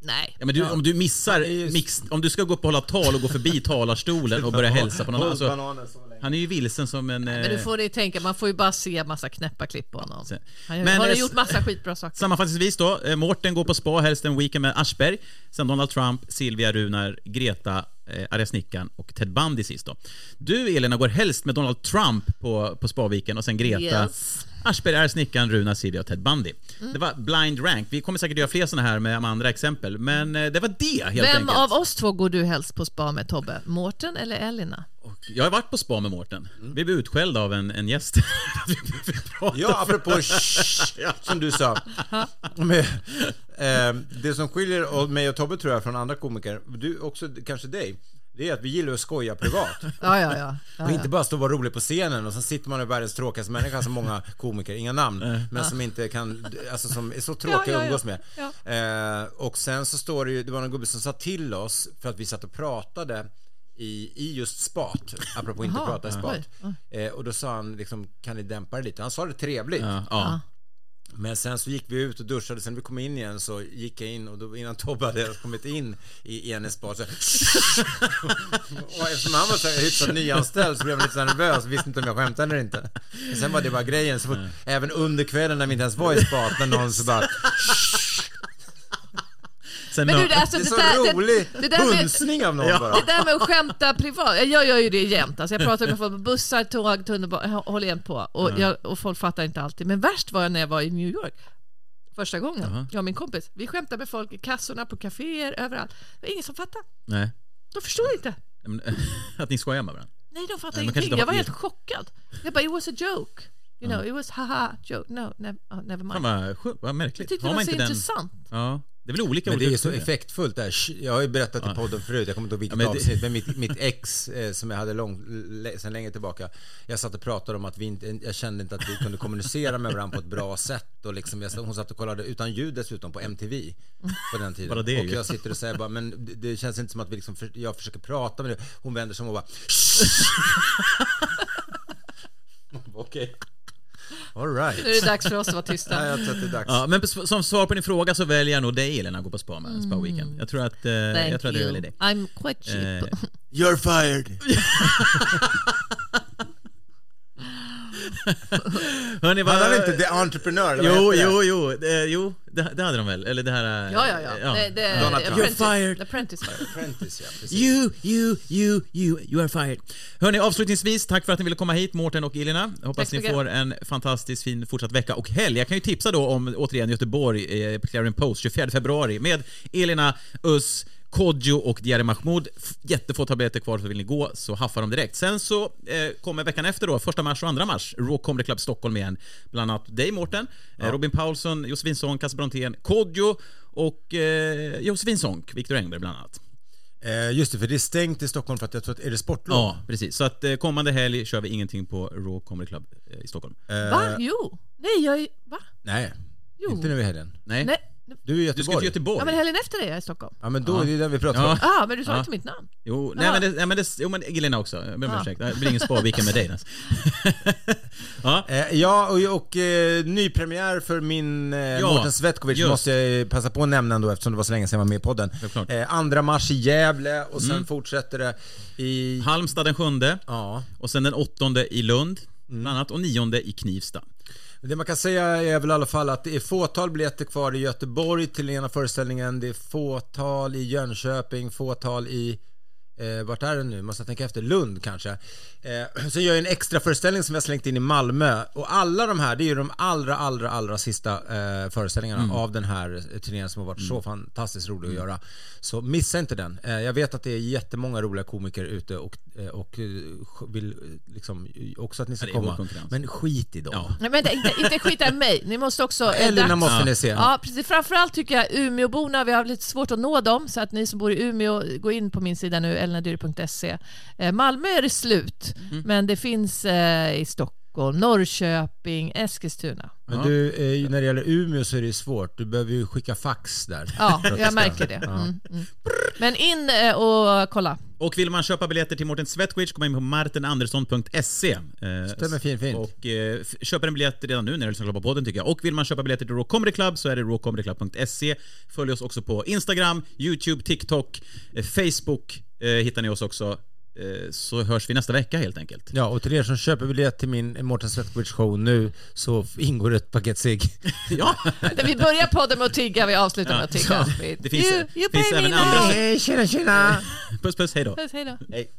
Nej. Ja, men du, om du missar, är ju- mix, om du ska gå upp och hålla tal och gå förbi talarstolen och börja hälsa på någon annan. Håll Alltså, bananen så länge. han är ju vilsen som en... Men du Eh, får det tänka, man får ju bara se massa knäppa klipp på honom. sen- Han Men, har ju eh, gjort massa skitbra saker. sammanfattningsvis då, eh, Mårten går på spa, helst en weekend med Aschberg. Sen Donald Trump, Silvia Runar, Greta, eh, arga snickaren och Ted Bundy sist då. Du Elena går helst med Donald Trump på, på spaviken och sen Greta, Yes. Mm. Aschberg, arga snickaren, Runar, Silvia och Ted Bundy. Det var blind rank. Vi kommer säkert göra fler såna här med, med andra exempel, men eh, det var det helt Vem enkelt. av oss två går du helst på spa med Tobbe? Mårten eller Elina? Jag har varit på spa med Mårten. Vi blev utskällda av en, en gäst. Vi- vi pratade Ja, apropå shh, som du sa. Men, eh, det som skiljer och- mig och Tobbe tror jag från andra komiker, du också kanske dig, det är att vi gillar att skoja privat. Ja, ja, ja. ja, Och ja. inte bara stå och vara rolig på scenen och sen sitter man i världens tråkigaste människa som många komiker, inga namn, men som inte kan, alltså som är så tråkiga Ja, ja, att umgås ja. med. Eh, och sen så står det ju, det var någon gubbe som sa till oss för att vi satt och pratade i, i just spat, apropå inte Jaha, prata i oj, spat. Eh, och då sa han liksom, kan ni dämpa det lite? Han sa det trevligt. Ja, ja. Men sen så gick vi ut och duschade, sen vi kom in igen så gick jag in och då, innan Tobbe hade kommit in i Enes bar så Och eftersom han var så här hyfsat nyanställd så blev jag lite så här nervös, visste inte om jag skämtade eller inte. Men sen var det bara grejen, så fort, även under kvällen när vi inte ens var i spat, när någon så bara Sen Men nå- du, det, alltså, Det är det, så där, rolig det, det där med, hunsning av någon bara. Det där med att skämta privat, jag gör ju det jämt. Alltså jag pratar med folk på bussar, tåg, tunnelbana, jag håller igen på. Och, Mm. jag, och folk fattar inte alltid. Men värst var jag när jag var i New York. Första gången, jag och min kompis. Vi skämtade med folk i kassorna, på kaféer, överallt. Det var ingen som fattade. Nej. De förstod inte. Men, Att ni skojar med varandra? Nej, de fattade Nej, men kanske ingenting. de- Jag var helt chockad. Jag bara, it was a joke. You know, it was haha, joke. No, never, oh, never Fan mind. vad, sjukt, vad Jag märkligt. tyckte det var så intressant. Ja. Det är väl olika Men det olika är ju så kulturer. effektfullt där. Sh- Jag har ju berättat i podden förut, jag kommer inte ihåg vilket men det- avsnitt, men mitt, mitt ex eh, som jag hade lång, l- sen länge tillbaka. Jag satt och pratade om att vi inte, jag kände inte att vi kunde kommunicera med varandra på ett bra sätt och liksom, jag, hon satt och kollade utan ljud dessutom på MTV på den tiden. Bara det och ju. jag sitter och säger bara, men det- det känns inte som att vi liksom, för, jag försöker prata med dig. Hon vänder sig om och bara, okej. All right. Nu är det dags för oss att vara Ja, tysta. jag tror att det är dags. Ja, men på- som svar på din fråga så väljer jag nog dig Elena att gå på spa med en spa-weekend. Jag tror att, eh, Mm. Thank jag tror att jag you. väljer dig. I'm quite Eh, cheap. You're fired! Hörni, vad... Han hade inte The Entrepreneur, eller vad Jo, heter det? jo, jo, eh, jo, det, det hade de väl? Eller det här... eh, Ja, ja, ja. Det, det, Donald Trump. Apprentice- You're fired. Apprentice var det. Apprentice, ja, precis. You, you, you, you, you are fired. Hörni, avslutningsvis, tack för att ni ville komma hit, Mårten och Elina. Jag Hoppas Tack så ni mycket. får en fantastiskt fin fortsatt vecka och helg. Jag kan ju tipsa då om, återigen, Göteborg, eh, Clarion Post, 24 februari med Elina Us Kodjo och Diarre Mahmoud. F- Jättefå tabletter kvar, så vill ni gå så haffar de direkt. Sen så eh, kommer veckan efter då, 1 mars och 2 mars, Raw Comedy Club Stockholm igen. Bland annat dig Mårten, eh, Robin Paulsson, Josefinsson, Casper Brontén, Kodjo och eh, Josefinsson, Viktor Engberg bland annat. Eh, just det, för det är stängt i Stockholm för att jag tror att är det sportlov? Ja, precis. Så att eh, kommande helg kör vi ingenting på Raw Comedy Club eh, i Stockholm. Va? Jo. Nej, jag är... Va? Nej, Jo. inte nu i helgen. Nej. Nej. Du är i Göteborg. Du ska till Göteborg? Ja, men helgen efter det är jag i Stockholm. Ja, men då är det ju den vi pratar om. Ja. Ah, men du sa inte mitt namn. Jo, nej, men det, nej, men det, jo, men Elina också. Jag ber om ursäkt. Det blir ingen spa-weekend med dig. Alltså. Eh, ja, och, och eh, nypremiär för min eh, Ja, Mårten Svetkovic just. måste jag eh, passa på att nämna ändå eftersom det var så länge sedan jag var med i podden. Självklart. Eh, andra mars i Gävle och Mm. sen fortsätter det i... Halmstad den sjunde Ja. och sen den åttonde i Lund, Mm. bland annat, och nionde i Knivsta. Det man kan säga är väl i alla fall att det är fåtal biljetter kvar i Göteborg till den ena föreställningen. Det är fåtal i Jönköping, fåtal i... Eh, vart är det nu? Måste jag tänka efter. Lund kanske. Eh, sen gör jag en extra föreställning som jag slängt in i Malmö. Och alla de här, det är ju de allra, allra, allra sista eh, föreställningarna Mm. av den här eh, turnén som har varit så fantastiskt rolig att göra. Så missa inte den. Eh, jag vet att det är jättemånga roliga komiker ute och, eh, och eh, vill eh, liksom också att ni ska Ja, det är hård komma. konkurrens. Men skit i dem. Ja. Nej, men det, inte, inte skita i mig. Ni måste också... eh, Elina dags- måste ni se. Ja, precis. Framförallt tycker jag Umeåborna, vi har lite svårt att nå dem, så att ni som bor i Umeå, gå in på min sida nu, elinadyr.se. Eh, Malmö är det slut, Mhm. men det finns eh, i Stockholm, Norrköping, Eskilstuna. Men du, eh, när det gäller Umeå så är det ju svårt. Du behöver ju skicka fax där. Ja, För att jag ska- märker det. Ja. Mm, mm. Men in eh, och kolla. Och vill man köpa biljetter till Mårten Svetkovic, kom in på martenandersson.se. Eh, Stämmer fint, fint. Och eh, f- köper en biljett redan nu när du lyssnar klart på podden tycker jag. Och vill man köpa biljetter till Raw Comedy Club så är det rawcomedyclub.se. Följ oss också på Instagram, YouTube, TikTok, eh, Facebook eh, hittar ni oss också. Eh, så hörs vi nästa vecka helt enkelt. Ja, och till er som köper biljett till min Mårten Svetkovic show nu så f- ingår ett paket cigg. Ja, Vi börjar podden med att tigga, vi avslutar med att tigga. det finns- you, you finns pay även me andra- now. Hej, tjena, tjena! puss puss, hej då. Puss, hej då. Hej.